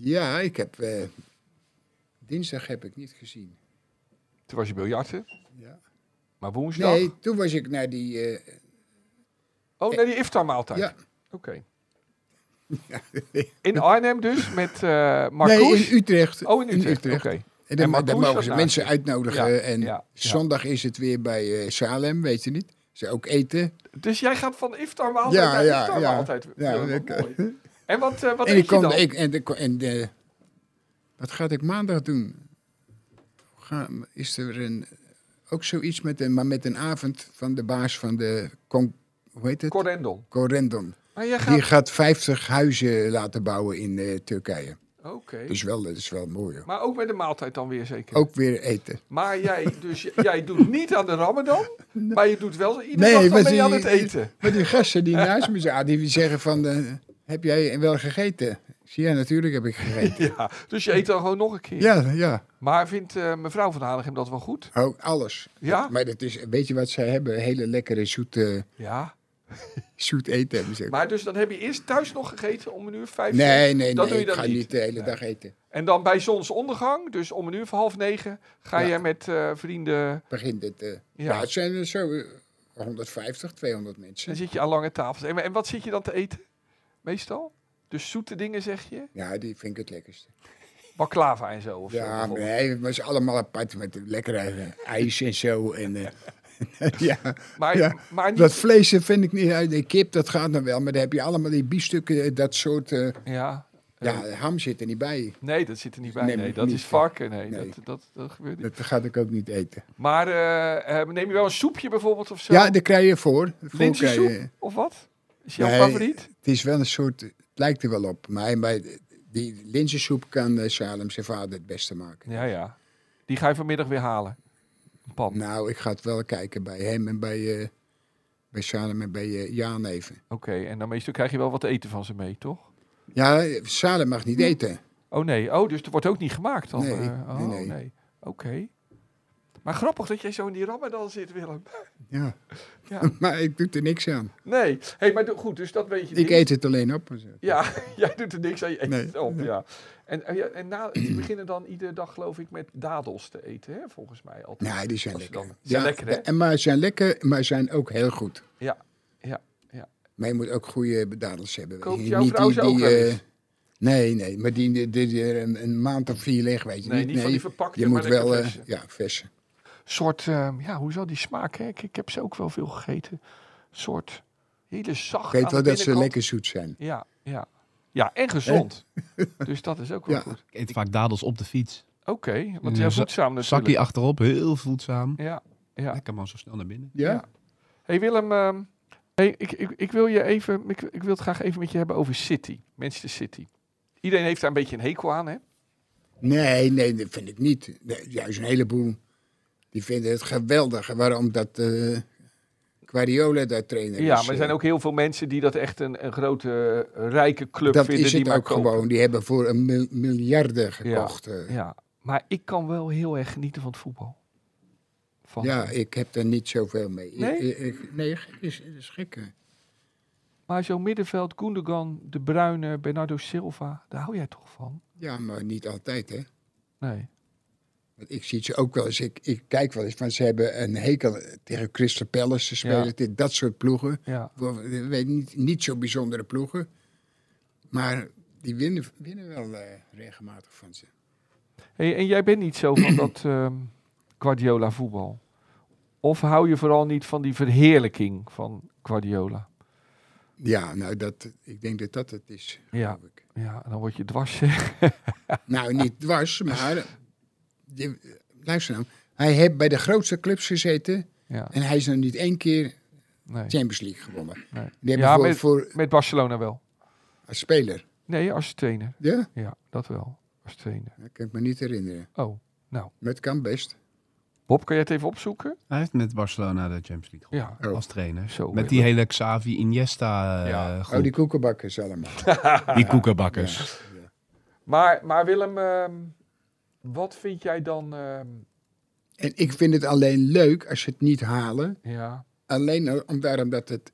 S2: Ja, ik heb. eh, dinsdag heb ik niet gezien.
S3: Toen was je biljarten,
S2: Ja.
S3: maar woensdag...
S2: Nee, toen was ik naar die. eh,
S3: Oh, nee, die iftar-maaltijd.
S2: ja,
S3: Oké. In Arnhem dus, met eh Marcouch.
S2: nee, in Utrecht.
S3: oh, in Utrecht, oké.
S2: En
S3: En
S2: dan,
S3: Marcouch
S2: dan
S3: was
S2: mogen ze
S3: daar.
S2: mensen uitnodigen.
S3: Ja,
S2: en
S3: ja, ja.
S2: zondag is het weer bij eh, Salem, weet je niet? Ze ook eten.
S3: Dus jij gaat van iftar-maaltijd
S2: Ja,
S3: naar
S2: ja,
S3: iftar-maaltijd.
S2: ja. Ja,
S3: Willem, wat
S2: lekker.
S3: mooi. En wat, eh, wat
S2: en
S3: eet je
S2: kom-
S3: dan?
S2: ik- en, ik- en eh, wat gaat ik maandag doen? Ga, is er een, ook zoiets met een, maar met een avond van de baas van de. Con, hoe heet het?
S3: Corendon.
S2: Corendon.
S3: Maar jij gaat...
S2: Die gaat 50 huizen laten bouwen in eh, Turkije.
S3: Oké.
S2: Dus wel, dat is wel mooi. hoor.
S3: Maar ook met de maaltijd dan weer zeker.
S2: Ook weer eten.
S3: Maar jij, dus, j- jij doet niet aan de ramadan, maar je doet wel iedere
S2: Nee,
S3: dag dan
S2: maar
S3: ben je aan
S2: die-
S3: het eten.
S2: Maar die gasten die naast me zaten, die zeggen van, eh, heb jij wel gegeten? Ik zeg, Ja, natuurlijk heb ik gegeten.
S3: Ja, dus je eet dan gewoon nog een keer.
S2: Ja, ja.
S3: Maar vindt eh, mevrouw van Hanegem dat wel goed?
S2: Oh, alles.
S3: Ja?
S2: Maar dat is, weet je wat zij hebben? Hele lekkere zoete,
S3: Ja.
S2: zoet eten hebben ze.
S3: Maar dus dan heb je eerst thuis nog gegeten om een uur of vijf?
S2: nee,
S3: zes?
S2: nee, nee.
S3: dat doe je
S2: Ik
S3: dan
S2: ga
S3: niet.
S2: niet de hele
S3: Nee.
S2: dag eten.
S3: En dan bij zonsondergang, dus om een uur van half negen, ga
S2: Ja.
S3: je met eh, vrienden...
S2: Begint het. eh,
S3: Ja.
S2: Nou, het zijn er zo eh, 150, 200
S3: Dan
S2: mensen.
S3: zit je aan lange tafels. En, en wat zit je dan te eten? Meestal? Dus zoete dingen zeg je?
S2: Ja, die vind ik het lekkerste.
S3: Baklava en zo. Of zo
S2: Ja,
S3: bijvoorbeeld.
S2: nee, het was allemaal apart met lekkere eh, ijs en zo. En, eh, ja.
S3: maar,
S2: ja.
S3: maar niet...
S2: Dat vlees eh, vind ik niet. eh, De kip, dat gaat dan wel. Maar dan heb je allemaal die biefstukken, eh, dat soort. eh,
S3: Ja. Eh,
S2: ja, ham zit er niet bij.
S3: Nee, dat zit er niet bij. Nee,
S2: Neem ik
S3: dat
S2: niet.
S3: is varken. Nee,
S2: Nee.
S3: Dat, dat, dat gebeurt niet.
S2: Dat gaat ik ook niet eten.
S3: Maar eh, eh, neem je wel een soepje bijvoorbeeld of zo?
S2: Ja, daar krijg je voor. voor krijg
S3: Linzensoep
S2: je-
S3: of wat? Is jouw
S2: Nee.
S3: favoriet?
S2: Het is wel een soort, het lijkt er wel op. Maar bij die linzensoep kan eh, Salem zijn vader het beste maken.
S3: Ja, ja. Die ga je vanmiddag weer halen. Een pan. Oké.
S2: Nou, ik ga het wel kijken bij hem en bij, eh, bij Salem en bij eh, Jaan even.
S3: en dan meestal krijg je wel wat eten van ze mee, toch?
S2: Ja, eh, Salem mag niet eten.
S3: Oh nee. Oh, dus er wordt ook niet gemaakt dan?
S2: Nee,
S3: eh, oh,
S2: nee,
S3: nee.
S2: nee.
S3: Oké. Maar grappig dat jij zo in die ramadan zit, Willem.
S2: Ja.
S3: Ja.
S2: maar ik doe er niks aan.
S3: Nee. hey, maar goed, dus dat weet je
S2: Ik
S3: niet.
S2: eet het alleen op.
S3: Ja, jij doet er niks aan, je eet
S2: Nee.
S3: het op, ja. En, en, ja, en na, ze beginnen dan iedere dag, geloof ik, met dadels te eten, hè, volgens mij altijd.
S2: Nee, die zijn
S3: Als je
S2: lekker.
S3: dan- zijn lekker, hè?
S2: En maar zijn lekker, maar zijn ook heel goed.
S3: Ja, ja, ja.
S2: Maar je moet ook goede bedadels hebben. weet
S3: Koopt
S2: je.
S3: jouw vrouw ze ook wel
S2: eh,
S3: eens?
S2: Nee, nee, maar die, die, die er een, een maand of vier liggen, weet je
S3: Nee,
S2: Nou, niet.
S3: niet van die verpakte,
S2: Je
S3: maar
S2: moet
S3: lekker
S2: wel, eh,
S3: verse.
S2: ja, verse.
S3: soort, ehm, ja, hoe zal die smaak, hè? Ik, ik heb ze ook wel veel gegeten. soort hele zacht
S2: Ik weet
S3: aan
S2: wel
S3: de
S2: dat ze
S3: binnenkant.
S2: lekker zoet zijn.
S3: Ja, ja. Ja, en gezond. dus dat is ook wel
S2: Ja.
S3: goed.
S5: Ik eet vaak dadels op de fiets.
S3: Oké, want
S5: Ja,
S3: jij
S5: za-
S3: voedzaam
S5: Zak
S3: natuurlijk.
S5: die achterop, heel voedzaam.
S3: Ja, ja.
S5: Lekker man, zo snel naar binnen.
S2: Ja?
S3: Ja. Hey Willem, ehm, hey, ik, ik, ik wil je even, ik, ik wil het graag even met je hebben over City, Manchester City. Iedereen heeft daar een beetje een hekel aan, hè?
S2: Nee, nee, dat vind ik niet. Nee, Juist een heleboel, die vinden het geweldig. Waarom dat eh Guardiola daar trainer
S3: ja,
S2: is.
S3: maar er zijn
S2: eh,
S3: ook heel veel mensen die dat echt een, een grote eh, rijke club
S2: Dat
S3: vinden
S2: is
S3: die
S2: het
S3: maar
S2: ook
S3: kopen.
S2: gewoon. Die hebben voor een mil- miljarden gekocht. eh.
S3: Ja, maar ik kan wel heel erg genieten van het voetbal. Van,
S2: Ja, ik heb daar niet zoveel mee. Ik-
S3: Nee?
S2: ik- ik- nee, het is, het is gek. hè.
S3: Maar zo'n middenveld, Gundogan, De Bruyne, Bernardo Silva, daar hou jij toch van?
S2: Ja, maar niet altijd, hè.
S3: Nee.
S2: Want ik zie ze ook wel eens. Ik, ik kijk wel eens, want ze hebben een hekel tegen Crystal Palace. Ze spelen
S3: Ja.
S2: tegen dat soort ploegen.
S3: Ja,
S2: Wel, ik Weet niet, niet zo bijzondere ploegen. Maar die winnen, winnen wel eh, regelmatig van ze.
S3: Hey, en jij bent niet zo van dat ehm, Guardiola voetbal. Of hou je vooral niet van die verheerlijking van Guardiola?
S2: Ja, nou, dat, ik denk dat dat het is.
S3: Ja.
S2: geloof ik.
S3: Ja, dan word je dwars. hè?
S2: Nou, niet dwars, maar... Je, luister nou. Hij heeft bij de grootste clubs gezeten.
S3: ja,
S2: En hij is nog niet één keer
S3: nee,
S2: Champions League gewonnen.
S3: nee.
S2: Die hebben
S3: ja
S2: voor,
S3: met,
S2: voor
S3: met Barcelona wel.
S2: als speler.
S3: Nee, als trainer.
S2: Ja?
S3: Ja, dat wel. Als trainer.
S2: Dat kan ik me niet herinneren.
S3: Oh,
S2: Maar het kan best.
S3: Bob, kan jij het even opzoeken?
S5: Hij heeft met Barcelona de Champions League gewonnen.
S3: Ja.
S2: Oh.
S5: Als trainer.
S3: Zo,
S5: met die hele Xavi Iniesta eh
S3: Ja.
S5: groep.
S2: Oh, die
S5: die,
S2: koekenbakkers allemaal.
S5: koekenbakkers.
S3: Maar, maar Willem, ehm, wat vind jij dan... ehm,
S2: En ik vind het alleen leuk als ze het niet halen.
S3: ja,
S2: Alleen al- om- daarom dat het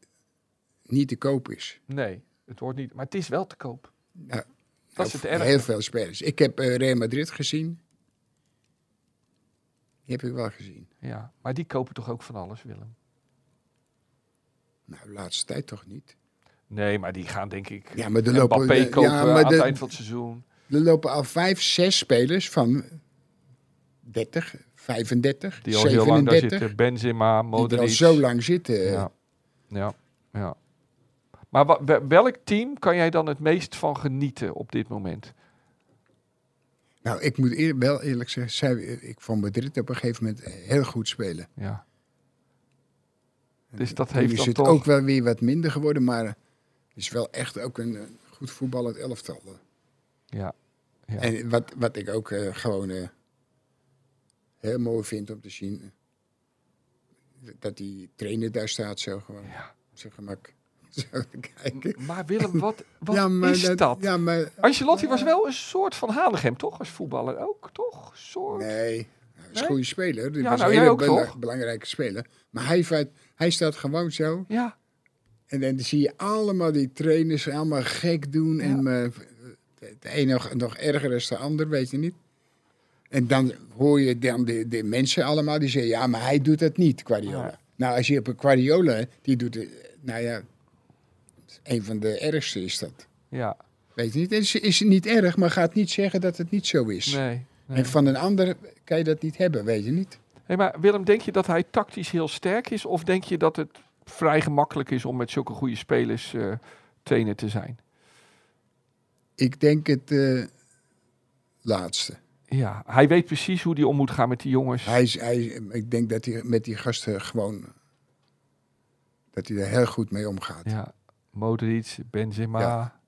S2: niet te koop is.
S3: nee, het hoort niet. Maar het is wel te koop.
S2: Ja.
S3: Dat is het
S2: Voor
S3: ergste.
S2: Nou, Heel veel spelers. Ik heb eh, Real Madrid gezien. Die heb ik wel gezien.
S3: Ja, maar die kopen toch ook van alles, Willem?
S2: Nou, de laatste tijd toch niet.
S3: Nee, maar die gaan denk ik
S2: Ja, maar er
S3: Mbappé eh,
S2: lopen, de-
S3: kopen
S2: ja,
S3: aan
S2: maar
S3: het
S2: de-
S3: eind van het seizoen.
S2: er lopen al vijf, zes spelers van 30, 35,
S3: Die al heel lang daar
S2: 37.
S3: zitten. Benzema,
S2: Die
S3: Modric.
S2: er al zo lang zitten.
S3: Ja, ja, ja. Maar wa- wel- welk team kan jij dan het meest van genieten op dit moment?
S2: Nou, ik moet eer- wel eerlijk zeggen, zij- ik vond Madrid op een gegeven moment eh, heel goed spelen.
S3: Ja. Dus dat
S2: Nu
S3: heeft
S2: is
S3: dan
S2: het
S3: toch...
S2: ook wel weer wat minder geworden, maar het is wel echt ook een eh, goed voetballend elftal.
S3: Ja, Ja.
S2: En wat, wat ik ook eh, gewoon eh, heel mooi vind om te zien, eh, dat die trainer daar staat zo gewoon,
S3: Ja.
S2: op zijn gemak. Zo te kijken.
S3: maar Willem, wat, wat
S2: Ja, maar
S3: is dat?
S2: Ja, maar...
S3: Ancelotti was wel een soort van Hanegem, toch? Als voetballer ook, toch? Een Soort...
S2: Nee, hij is
S3: Nee?
S2: een goede speler. Die
S3: Ja,
S2: was
S3: nou,
S2: een
S3: jij
S2: hele
S3: ook
S2: bela-
S3: toch?
S2: belangrijke speler. Maar hij, feit- hij staat gewoon zo...
S3: Ja,
S2: En dan zie je allemaal die trainers allemaal gek doen. En eh, de de een nog, nog erger is de ander, weet je niet. En dan hoor je dan de, de mensen allemaal die zeggen... ja, maar hij doet dat niet, Guardiola.
S3: Ja.
S2: Nou, als je op een Guardiola... die doet het... Nou ja, een van de ergste is dat.
S3: ja.
S2: Weet je niet? Het is, is niet erg, maar gaat niet zeggen dat het niet zo is.
S3: Nee. nee.
S2: En van een ander kan je dat niet hebben, weet je niet?
S3: Hey, maar Willem, denk je dat hij tactisch heel sterk is? Of denk je dat het vrij gemakkelijk is om met zulke goede spelers eh, trainer te zijn?
S2: Ik denk het eh, laatste.
S3: Ja, hij weet precies hoe hij om moet gaan met die jongens.
S2: Hij, is- hij, is- ik denk dat hij met die gasten gewoon. dat hij er heel goed mee omgaat.
S3: Ja, Modric, Benzema.
S2: Ja.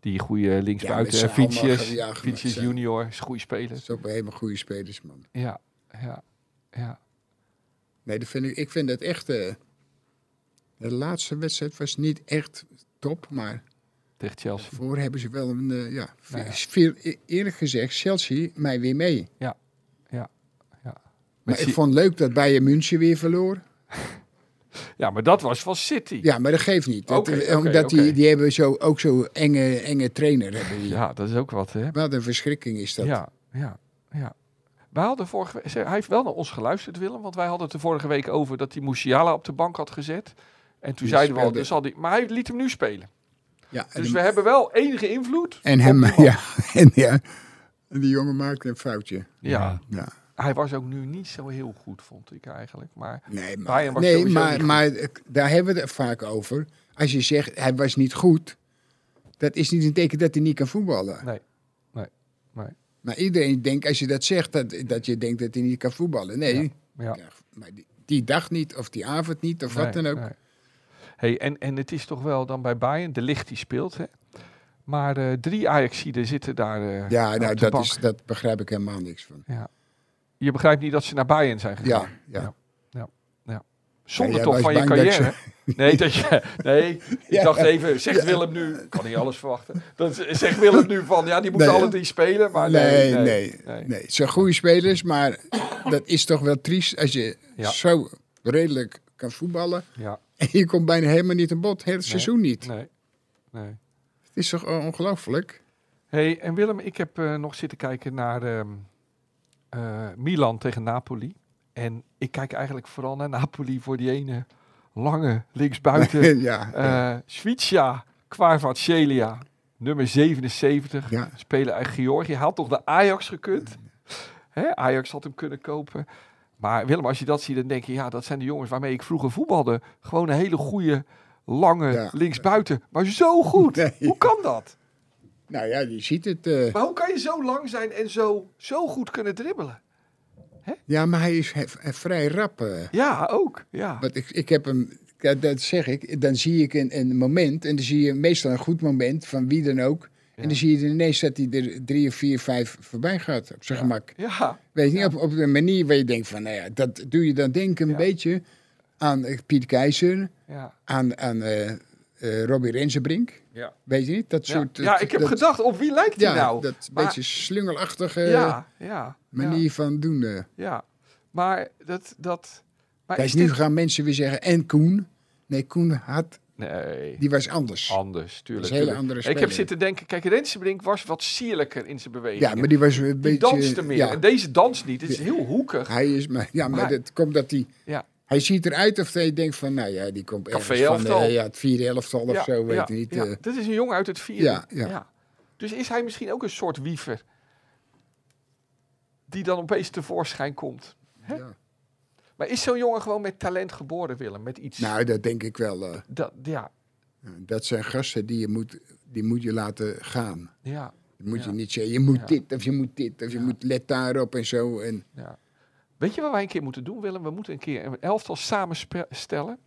S3: Die goede linksbuiten.
S2: met
S3: Ja,
S2: z'n allen
S3: Fietsjes.
S2: mogen we jagen,
S3: Fietsjes
S2: met z'n-
S3: junior. Is een goede
S2: Dat
S3: speler.
S2: is ook een hele goede spelers, man.
S3: Ja, ja, ja.
S2: Nee, dat vind ik, ik vind dat echt... eh, de laatste wedstrijd was niet echt top, maar
S3: Tegen Chelsea.
S2: voor hebben ze wel een... eh, ja,
S3: Nou ja.
S2: veel- e- eerlijk gezegd, Chelsea mij weer mee.
S3: Met
S2: Maar ik
S3: Ci-
S2: vond leuk dat Bayern München weer verloor.
S3: Ja, maar dat was van City. Ja,
S2: Ja, maar dat geeft niet. Dat,
S3: Oké,
S2: eh,
S3: oké,
S2: omdat Die,
S3: oké.
S2: die hebben zo, ook zo'n enge, enge trainer. Hebben die.
S3: dat is ook wat, hè?
S2: Wat een verschrikking is dat.
S3: Ja, ja, ja. Wij hadden vorige we- ze- hij heeft wel naar ons geluisterd, Willem, want wij hadden het de vorige week over dat hij Musiala op de bank had gezet. En toen
S2: Die
S3: zeiden we al,
S2: speelde-
S3: dus al die, maar hij liet hem nu spelen.
S2: Ja, en,
S3: Dus we hebben wel enige invloed.
S2: en hem, ja, en ja. En die jongen maakte een foutje.
S3: Ja.
S2: Ja.
S3: Hij was ook nu niet zo heel goed, vond ik eigenlijk. Maar
S2: Nee,
S3: Bayern
S2: maar,
S3: was
S2: nee,
S3: sowieso
S2: maar,
S3: niet
S2: maar eh, daar hebben we het vaak over. Als je zegt, hij was niet goed, dat is niet een teken dat hij niet kan voetballen.
S3: Nee, nee, nee.
S2: Maar iedereen denkt, als je dat zegt, dat, dat je denkt dat hij niet kan voetballen. Nee,
S3: ja.
S2: Ja, maar die, die dag niet, of die avond niet, of wat
S3: Nee,
S2: dan ook.
S3: nee. Hey, en, en het is toch wel dan bij Bayern, de licht die speelt, hè? Maar eh, drie Ajaxiden zitten daar eh,
S2: Ja,
S3: op
S2: nou,
S3: de
S2: dat,
S3: bank.
S2: is, dat begrijp ik helemaal niks van.
S3: Je begrijpt niet dat ze naar Bayern zijn gegaan.
S2: Ja, ja.
S3: Ja.
S2: Ja,
S3: Zonder
S2: jij
S3: toch
S2: was
S3: van je
S2: bang dat
S3: carrière. Nee, dat je, nee, ik
S2: Ja.
S3: dacht even, zegt Willem nu, ik kan niet alles verwachten. Dan z- zegt Willem nu van, ja, die moeten
S2: Nee.
S3: alle drie spelen. Maar
S2: nee,
S3: nee,
S2: nee, nee,
S3: nee.
S2: Het zijn goede spelers, maar dat is toch wel triest als je
S3: Ja.
S2: zo redelijk kan voetballen.
S3: Ja,
S2: En je komt bijna helemaal niet aan bod, heel het
S3: Nee.
S2: seizoen niet.
S3: nee, nee.
S2: Het is toch ongelooflijk?
S3: hey, en Willem, ik heb eh, nog zitten kijken naar ehm, eh, Milan tegen Napoli. En ik kijk eigenlijk vooral naar Napoli voor die ene lange linksbuiten. eh
S2: ja.
S3: Svitja Kvarvatshelia, nummer 77.
S2: ja.
S3: spelen uit Georgië. Hij had toch de Ajax gekund? Hè? Ajax had hem kunnen kopen. Maar Willem, als je dat ziet, dan denk je... ja, dat zijn de jongens waarmee ik vroeger voetbalde. Gewoon een hele goede, lange
S2: Ja.
S3: linksbuiten. Maar zo goed.
S2: Nee.
S3: Hoe kan dat?
S2: Nou ja, je ziet het. eh.
S3: Maar hoe kan je zo lang zijn en zo, zo goed kunnen dribbelen?
S2: Ja, maar hij is he- he- vrij rap. eh.
S3: Ja, ook. Ja,
S2: Want ik, ik heb hem, ja, dat zeg ik, dan zie ik een, een moment, en dan zie je meestal een goed moment van wie dan ook. En dan zie je ineens dat hij er drie of vier, vijf voorbij gaat op zijn gemak.
S3: ja,
S2: Weet je niet, op, op een manier waar je denkt van, nou ja, dat doe je dan denk ik een
S3: Ja.
S2: beetje aan eh, Piet Keizer,
S3: ja.
S2: aan, aan eh, eh, Robbie Rensenbrink.
S3: Ja.
S2: Weet je niet, dat
S3: Ja.
S2: soort...
S3: ja, ik heb
S2: dat,
S3: gedacht, op wie lijkt hij
S2: Ja,
S3: nou?
S2: dat
S3: Maar-
S2: beetje slungelachtige
S3: ja, ja,
S2: manier
S3: ja,
S2: van doen. eh.
S3: ja. Maar dat... dat maar
S2: Kijk,
S3: is
S2: nu
S3: dit-
S2: gaan mensen weer zeggen, en Koen. Nee, Koen had,
S3: Nee.
S2: die was anders.
S3: Anders, tuurlijk.
S2: Dat is een hele
S3: tuurlijk.
S2: andere
S3: ik heb
S2: speler.
S3: zitten denken, kijk, Rensenbrink was wat sierlijker in zijn bewegingen.
S2: Ja, maar die was een
S3: Die
S2: beetje...
S3: danste meer.
S2: ja.
S3: En deze danst niet. Het is heel hoekig.
S2: Hij is, maar, ja, maar
S3: Maar-
S2: dat komt dat hij...
S3: Ja.
S2: Hij ziet eruit of hij denkt van, nou ja, die komt ergens
S3: Café
S2: van
S3: elftal.
S2: eh, ja, het vierde elftal of
S3: Ja,
S2: zo, weet
S3: ja,
S2: je niet.
S3: ja.
S2: eh.
S3: Dat is een jongen uit het vierde.
S2: Ja, ja.
S3: Dus is hij misschien ook een soort wiever die dan opeens tevoorschijn komt? Hè?
S2: Ja.
S3: Maar is zo'n jongen gewoon met talent geboren, Willem? Met iets?
S2: Nou, dat denk ik wel. eh.
S3: dat, ja,
S2: dat zijn gasten die je moet, die moet je laten gaan.
S3: ja,
S2: Dat moet
S3: Ja.
S2: je niet zeggen, je moet
S3: Ja.
S2: dit of je moet dit of je
S3: Ja.
S2: moet let daarop en zo. En,
S3: ja. Weet je wat wij een keer moeten doen, Willem? We moeten een keer een elftal samenstellen.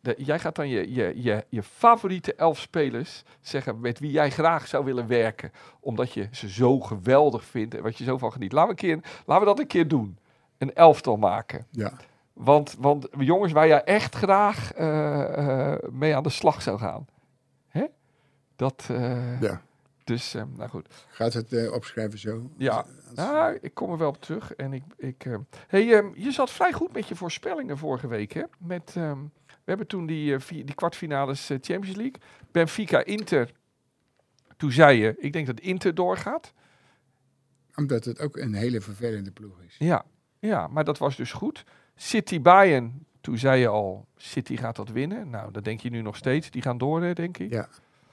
S3: De- jij gaat dan je, je, je, je favoriete elf spelers zeggen met wie jij graag zou willen werken. Omdat je ze zo geweldig vindt en wat je zo van geniet. Laten we, een keer, laten we dat een keer doen. Een elftal maken.
S2: ja.
S3: Want, want jongens, waar jij echt graag eh, eh, mee aan de slag zou gaan. Hè? Dat, eh,
S2: Ja.
S3: Dus, eh, nou goed.
S2: Gaat het eh, opschrijven zo?
S3: Ja, nou, ik kom er wel op terug. En ik, ik, eh, hey, ehm, je zat vrij goed met je voorspellingen vorige week. Hè? Met, ehm, we hebben toen die, eh, vi- die kwartfinales eh, Champions League. Benfica Inter. Toen zei je, ik denk dat Inter doorgaat.
S2: Omdat het ook een hele vervelende ploeg is.
S3: Ja, ja maar dat was dus goed. City Bayern. Toen zei je al, City gaat dat winnen. Nou, dat denk je nu nog steeds. Die gaan door, hè, denk ik.
S2: Ja,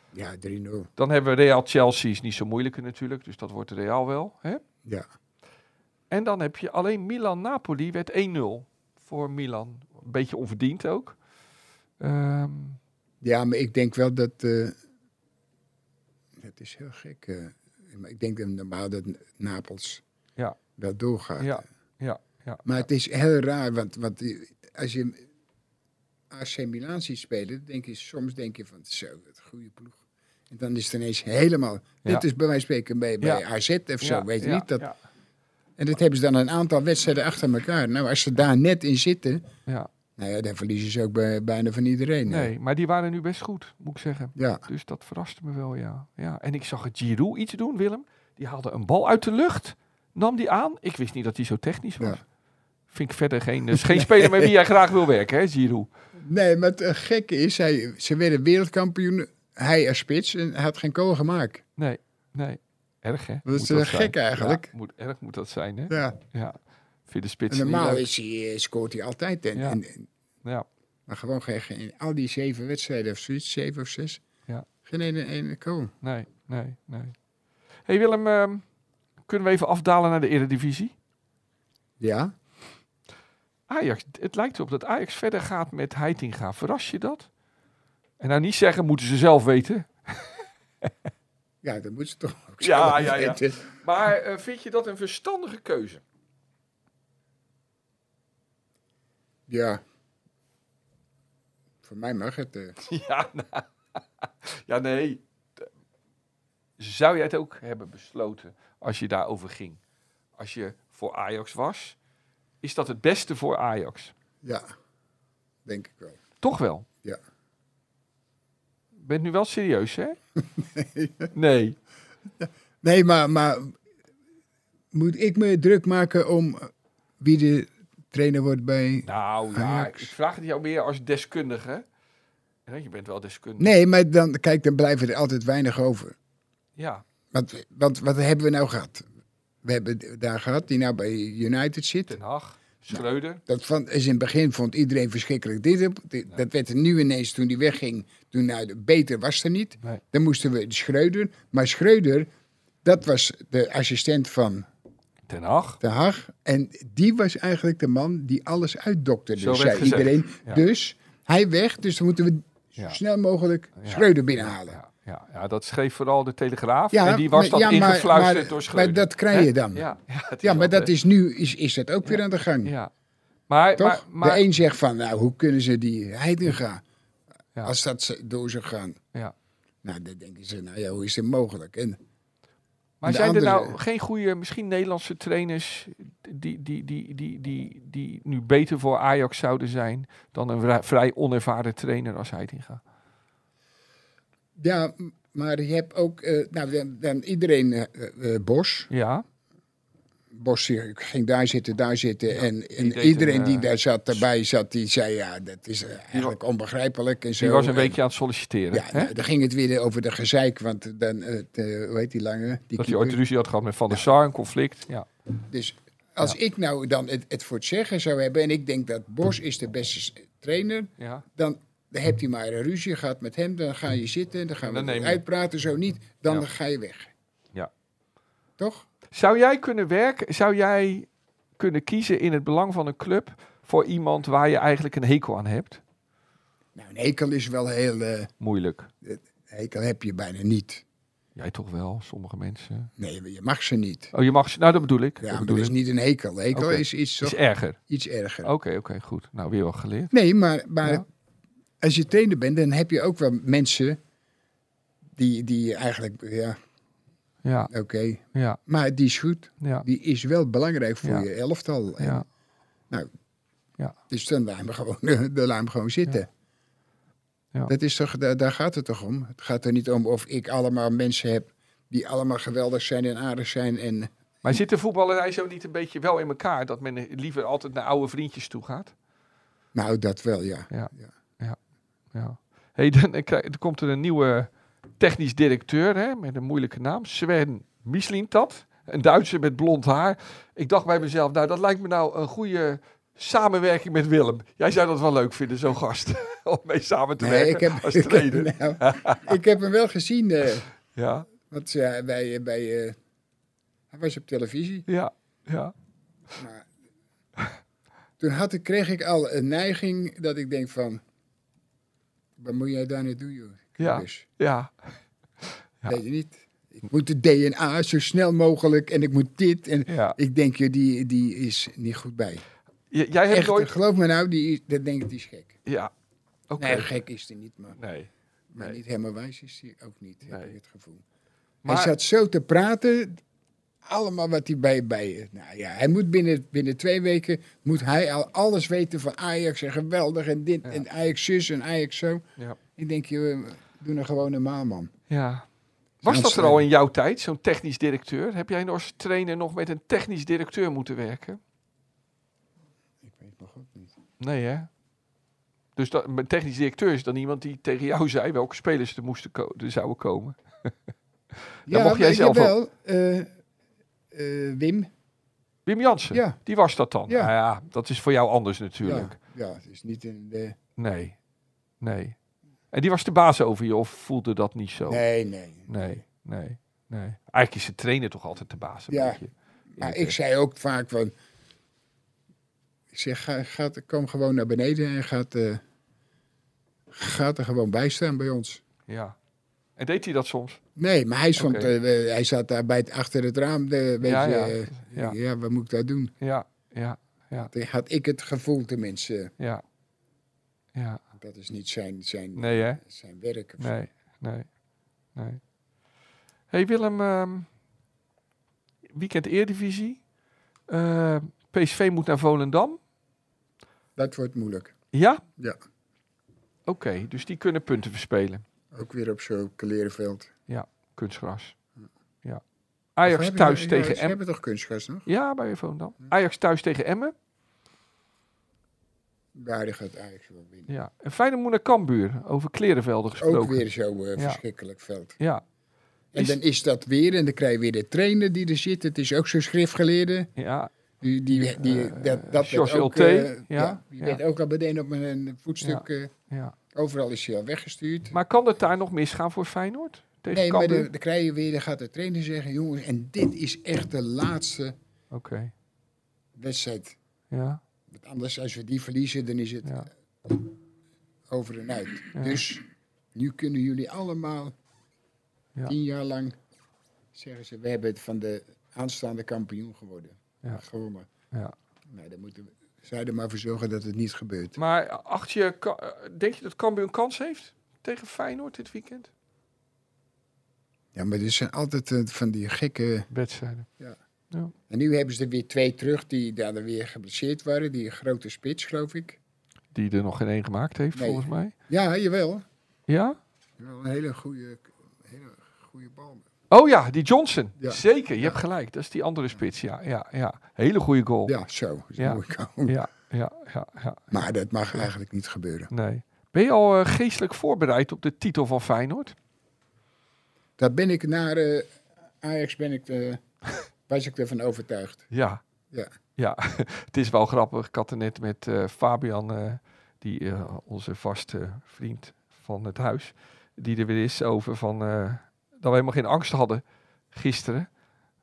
S2: ja 3-0.
S3: Dan hebben we Real Chelsea. Is niet zo moeilijker natuurlijk. Dus dat wordt Real wel. Hè?
S2: Ja.
S3: En dan heb je alleen Milan-Napoli werd 1-0 voor Milan. Een beetje onverdiend ook. Ehm,
S2: ja, maar ik denk wel dat... eh dat is heel gek. eh, maar ik denk dat normaal dat Napels
S3: Ja.
S2: wel doorgaat.
S3: ja, ja,
S2: eh,
S3: ja.
S2: Maar het is heel raar, want, want die- als je AC Milan ziet spelen, dan denk je, soms denk je van zo, wat een goede ploeg. En dan is het ineens helemaal.
S3: Ja.
S2: Dit is bij wijze van spreken bij, bij
S3: Ja.
S2: AZ of zo,
S3: Ja,
S2: weet je
S3: ja,
S2: niet. Dat,
S3: Ja,
S2: En dat hebben ze dan een aantal wedstrijden achter elkaar. Nou, als ze daar net in zitten,
S3: ja.
S2: nou ja, dan verliezen ze ook bij, bijna van iedereen. hè.
S3: Nee, maar die waren nu best goed, moet ik zeggen.
S2: Ja.
S3: Dus dat verraste me wel, ja. ja. En ik zag het Giroud iets doen, Willem. Die haalde een bal uit de lucht, nam die aan. Ik wist niet dat hij zo technisch was.
S2: Ja.
S3: Vind ik verder geen, is geen speler met wie jij graag wil werken, hè, Giroud?
S2: Nee, maar het eh, gekke is, hij, ze werden wereldkampioen. Hij als spits en hij had geen goal gemaakt.
S3: Nee, nee. Erg, hè?
S2: Dat is
S3: Moet
S2: eh,
S3: zijn.
S2: gek eigenlijk.
S3: Ja, moet, erg moet dat zijn, hè? Ja.
S2: Ja.
S3: Vind de
S2: En
S3: spits
S2: normaal
S3: niet leuk.
S2: is hij, eh, scoort hij altijd. En,
S3: Ja.
S2: en- en-
S3: Ja,
S2: maar gewoon geen, geen- in al die zeven wedstrijden of zoiets, zeven of zes,
S3: Ja.
S2: geen ene, ene goal.
S3: nee, nee, nee. hey Willem, ehm, kunnen we even afdalen naar de Eredivisie?
S2: Ja,
S3: Ajax, het lijkt erop dat Ajax verder gaat met Heitinga. Verras je dat? En nou niet zeggen, moeten ze zelf weten.
S2: ja dat moeten ze toch ook
S3: Ja,
S2: zelf
S3: ja, ja.
S2: weten.
S3: Maar eh, vind je dat een verstandige keuze?
S2: Ja. Voor mij mag het. eh.
S3: ja, nou, ja, nee. Zou jij het ook hebben besloten als je daarover ging? Als je voor Ajax was? Is dat het beste voor Ajax?
S2: ja, denk ik wel.
S3: Toch wel?
S2: Ja.
S3: Je Bent nu wel serieus, hè? nee.
S2: Nee, maar, maar moet ik me druk maken om eh, wie de trainer wordt bij...
S3: Nou ja, ik
S2: Ajax.
S3: vraag het jou meer als deskundige. Ja, Je bent wel deskundige.
S2: Nee, maar dan, kijk, dan blijven er altijd weinig over.
S3: Ja,
S2: Want, want wat hebben we nou gehad? We hebben d- daar gehad die nou bij United zit.
S3: Den Haag, Schreuder.
S2: Dat van, is in het begin vond iedereen verschrikkelijk dit. op. Dit- Dat werd er nu ineens, toen die wegging, toen nou, de- beter was er niet.
S3: Nee.
S2: Dan moesten we Schreuder. Maar Schreuder, dat was de assistent van
S3: Den Haag.
S2: Den Haag. En die was eigenlijk de man die alles uitdokterde,
S3: Zo werd
S2: zei
S3: gezegd,
S2: iedereen.
S3: ja.
S2: Dus hij weg, dus dan moeten we zo
S3: Ja.
S2: snel mogelijk
S3: Ja.
S2: Schreuder binnenhalen.
S3: Ja, ja, ja, dat schreef vooral de Telegraaf. en die was
S2: maar-
S3: dan
S2: ja, maar-
S3: ingefluisterd
S2: maar-
S3: door Schreuder.
S2: Maar dat krijg je dan.
S3: Ja, ja, het
S2: Ja,
S3: is
S2: maar
S3: wel,
S2: dat
S3: eh,
S2: is nu is, is dat ook weer aan de gang.
S3: Ja. Maar,
S2: Toch?
S3: maar, maar
S2: de een zegt van, nou, hoe kunnen ze die Heidinga,
S3: Ja.
S2: als dat ze door zou gaan?
S3: Ja.
S2: Nou, dan denken ze, nou ja, hoe is dit mogelijk? En,
S3: Maar
S2: De
S3: zijn er nou
S2: andere-
S3: geen goede, misschien Nederlandse trainers die, die, die, die, die, die nu beter voor Ajax zouden zijn dan een vri- vrij onervaren trainer als hij het ingaat?
S2: ja, m- maar je hebt ook, eh, nou, dan, dan iedereen, eh, eh, eh, Bos,
S3: Ja,
S2: Bos die ging daar zitten, daar zitten. en en
S3: deed
S2: iedereen
S3: een,
S2: die
S3: eh,
S2: daar zat, daarbij zat, die zei, ja, dat is eh, eigenlijk onbegrijpelijk. En zo.
S3: die was een
S2: En-
S3: weekje aan het solliciteren.
S2: Ja,
S3: hè?
S2: nou, dan ging het weer over de gezeik, want dan, eh, het, eh, hoe heet die lange? Die
S3: dat hij
S2: keeper.
S3: ooit ruzie had gehad met Van der Sar, een conflict. Ja.
S2: Dus als ik nou dan het, het voor het zeggen zou hebben en ik denk dat Bos is de beste s- trainer,
S3: Ja.
S2: dan heb je maar een ruzie gehad met hem, dan ga je zitten, dan gaan
S3: Dan
S2: we
S3: neem je-
S2: uitpraten, zo niet, dan
S3: Ja.
S2: ga je weg.
S3: Ja.
S2: Toch?
S3: Zou jij kunnen werken, zou jij kunnen kiezen in het belang van een club voor iemand waar je eigenlijk een hekel aan hebt?
S2: Nou, een hekel is wel heel, eh,
S3: Moeilijk.
S2: hekel heb je bijna niet.
S3: Jij toch wel, sommige mensen.
S2: Nee, je mag ze niet.
S3: Oh, je mag. ze- Nou, dat bedoel ik.
S2: Ja,
S3: dat
S2: maar
S3: bedoel
S2: dat is
S3: ik.
S2: niet een hekel. Hekel
S3: Oké. Dus
S2: is iets,
S3: Is
S2: toch
S3: erger.
S2: iets erger.
S3: Oké, oké, goed. Nou, weer wat geleerd.
S2: Nee, maar, maar
S3: Ja.
S2: als je trainer bent, dan heb je ook wel mensen die, die eigenlijk, ja,
S3: Ja,
S2: oké,
S3: ja,
S2: maar die is goed.
S3: ja,
S2: Die is wel belangrijk voor
S3: Ja.
S2: je elftal. En
S3: ja.
S2: Dus dan laat hem gewoon, dan laat hem gewoon zitten.
S3: Ja.
S2: Dat is toch, daar, daar gaat het toch om? Het gaat er niet om of ik allemaal mensen heb die allemaal geweldig zijn en aardig zijn. En,
S3: Maar zit de voetballerij zo niet een beetje wel in elkaar? Dat men liever altijd naar oude vriendjes toe gaat?
S2: nou, dat wel, ja.
S3: Ja, ja, ja. hey, dan, eh, krijg- dan komt er een nieuwe technisch directeur hè, met een moeilijke naam. Sven Mislintat. Een Duitser met blond haar. Ik dacht bij mezelf, nou, dat lijkt me nou een goede samenwerking met Willem. Jij zou dat wel leuk vinden, zo'n gast. Om mee samen te
S2: Nee,
S3: werken
S2: ik heb,
S3: als
S2: ik, heb,
S3: trainer.
S2: nou, ik heb hem wel gezien. eh,
S3: Ja,
S2: want ja, bij, eh, bij, eh, hij was op televisie.
S3: ja, ja.
S2: Maar toen had ik, kreeg ik al een neiging dat ik denk van... Wat moet jij daar naartoe, joh?
S3: Ja.
S2: Dus,
S3: Ja, Ja.
S2: Weet je niet? Ik moet de DNA zo snel mogelijk en ik moet dit. En
S3: ja.
S2: ik denk, je die, die is niet goed bij.
S3: J- jij hebt
S2: Echt,
S3: nooit.
S2: geloof me nou, die, is- dat denk ik, die is gek.
S3: Ja, Oké.
S2: Nee, gek is hij niet, maar,
S3: Nee.
S2: maar
S3: Nee.
S2: niet helemaal wijs is hij ook niet, heb
S3: Nee.
S2: ik het gevoel.
S3: Maar-
S2: Hij zat zo te praten, allemaal wat hij bij, bij nou ja, hij moet binnen, binnen twee weken, moet hij al alles weten van Ajax en geweldig en dit
S3: Ja.
S2: en Ajax zus en Ajax zo.
S3: Ja.
S2: Ik denk, joh, doe nou gewoon normaal, man.
S3: ja. Was
S2: Zo'n
S3: dat er
S2: slim.
S3: al in jouw tijd, zo'n technisch directeur? Heb jij als trainer nog met een technisch directeur moeten werken?
S2: Ik weet nog ook niet.
S3: Nee, hè? Dus dat, een technisch directeur is dan iemand die tegen jou zei welke spelers er, moesten ko- er zouden komen. mocht jij
S2: weet je
S3: zelf ook.
S2: wel, eh, eh, Wim.
S3: Wim Jansen,
S2: Ja.
S3: die was dat dan.
S2: Ja.
S3: Nou ja, dat is voor jou anders natuurlijk.
S2: Ja, ja, het is niet eh, in de...
S3: Nee, nee. En die was de baas over je of voelde dat niet zo?
S2: Nee, nee.
S3: nee, nee. nee. Eigenlijk is de trainer toch altijd de baas een
S2: Ja.
S3: beetje.
S2: Maar
S3: eh.
S2: ik zei ook vaak van... Ik zeg, ga, ga, kom gewoon naar beneden en gaat, eh, gaat er gewoon bij staan bij ons.
S3: Ja. En deed hij dat soms?
S2: Nee, maar hij, stond,
S3: Oké.
S2: eh, eh, hij zat daar bij het, achter het raam. De, weet
S3: Ja,
S2: je,
S3: ja.
S2: eh,
S3: Ja.
S2: ja. wat moet ik daar doen?
S3: Ja, ja,
S2: Toen had ik het gevoel tenminste. eh,
S3: ja. Ja,
S2: Dat is niet zijn, zijn,
S3: nee hè?
S2: zijn werk. of zo.
S3: Nee, nee, nee. hey Willem, ehm, weekend Eerdivisie. Eh, PSV moet naar Volendam.
S2: Dat wordt moeilijk.
S3: Ja?
S2: Ja.
S3: Oké, dus die kunnen punten verspelen.
S2: Ook weer op zo'n klerenveld.
S3: Kunstgras. Ja.
S2: Of
S3: Ajax
S2: hebben
S3: thuis
S2: we- ja,
S3: tegen
S2: Ze
S3: Emmen.
S2: hebben toch kunstgras nog?
S3: Ja, bij Volendam. Ajax thuis tegen Emmen.
S2: Daar gaat Ajax wel winnen.
S3: Ja. En Feyenoord moet naar Cambuur. Over klerenvelden gesproken.
S2: Ook weer zo'n eh,
S3: Ja.
S2: verschrikkelijk veld.
S3: Ja,
S2: En
S3: Is-
S2: dan is dat weer, en dan krijg je weer de trainer die er zit. Het is ook zo'n schriftgeleerde.
S3: ja,
S2: Die, die, die,
S3: Eh,
S2: dat, dat werd
S3: George
S2: ook,
S3: L.T.,
S2: eh,
S3: ja,
S2: die
S3: ja.
S2: werd ook al meteen op een voetstuk. eh,
S3: ja.
S2: overal is hij al weggestuurd.
S3: Maar kan het daar nog misgaan voor Feyenoord? Tegen
S2: nee, maar
S3: Cambuur?
S2: dan, dan krijg je weer, dan gaat de trainer zeggen: jongens, en dit is echt de laatste
S3: Oké.
S2: wedstrijd.
S3: Ja,
S2: Want anders, als we die verliezen, dan is het
S3: ja,
S2: over en uit.
S3: Ja.
S2: Dus nu kunnen jullie allemaal
S3: Ja.
S2: tien jaar lang zeggen ze: we hebben het van de aanstaande kampioen geworden.
S3: Ja.
S2: Gewonnen.
S3: ja.
S2: Nou, dan moeten we, zou je er maar voor zorgen dat het niet gebeurt.
S3: Maar acht je, Ka- eh, denk je dat Cambuur een kans heeft tegen Feyenoord dit weekend?
S2: Ja, maar er zijn altijd eh, van die gekke...
S3: Wedstrijden.
S2: En nu hebben ze er weer twee terug die daar dan weer geblesseerd waren. Die grote spits, geloof ik.
S3: Die er nog geen één gemaakt heeft,
S2: Nee.
S3: volgens mij.
S2: Ja, jawel.
S3: Ja?
S2: Wel een hele goede, hele goede bal.
S3: Oh ja, die Johnson.
S2: Ja.
S3: Zeker, je hebt gelijk. Dat is die andere spits. Ja, ja, ja. Hele goede goal.
S2: Ja, zo. Zo
S3: Ja.
S2: moet ik komen.
S3: ja, ja, ja. ja.
S2: Maar dat mag eigenlijk niet gebeuren.
S3: Nee. Ben je al eh, geestelijk voorbereid op de titel van Feyenoord?
S2: Daar ben ik naar eh, Ajax ben ik, eh, was ik ervan overtuigd.
S3: Ja.
S2: Ja.
S3: Ja, het is wel grappig. Ik had er net met eh, Fabian, eh, die, eh, onze vaste vriend van het huis, die er weer is over van eh, dat we helemaal geen angst hadden gisteren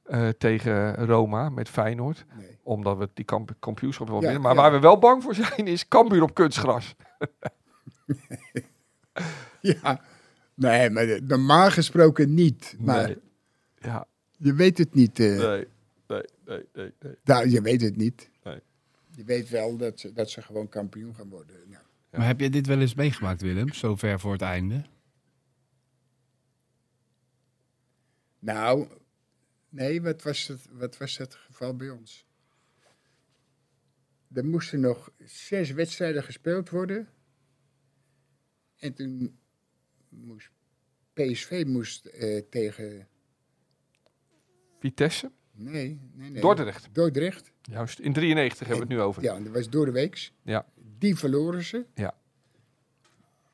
S3: eh, tegen Roma met Feyenoord.
S2: Nee.
S3: Omdat we die kamp kampioenschap wel
S2: Ja,
S3: winnen. Maar
S2: ja.
S3: waar we wel bang voor zijn is Cambuur op kunstgras.
S2: Ja. Nee, maar de- normaal gesproken niet. Maar
S3: Nee. Ja,
S2: je weet het niet. eh,
S3: nee, nee, nee, nee. nee.
S2: Nou, je weet het niet.
S3: Nee.
S2: Je weet wel dat ze, dat ze gewoon kampioen gaan worden. Nou,
S3: Ja.
S5: Maar heb je dit wel eens meegemaakt, Willem? Zo ver voor het einde?
S2: nou, nee, wat was, het, wat was het geval bij ons? Er moesten nog zes wedstrijden gespeeld worden. En toen moest PSV moest, eh, tegen...
S3: Vitesse,
S2: Nee, nee, nee.
S3: Dordrecht.
S2: Dordrecht.
S3: Juist, in 93 hebben we het nu over.
S2: Ja, en dat was door de weeks.
S3: Ja.
S2: Die verloren ze.
S3: Ja.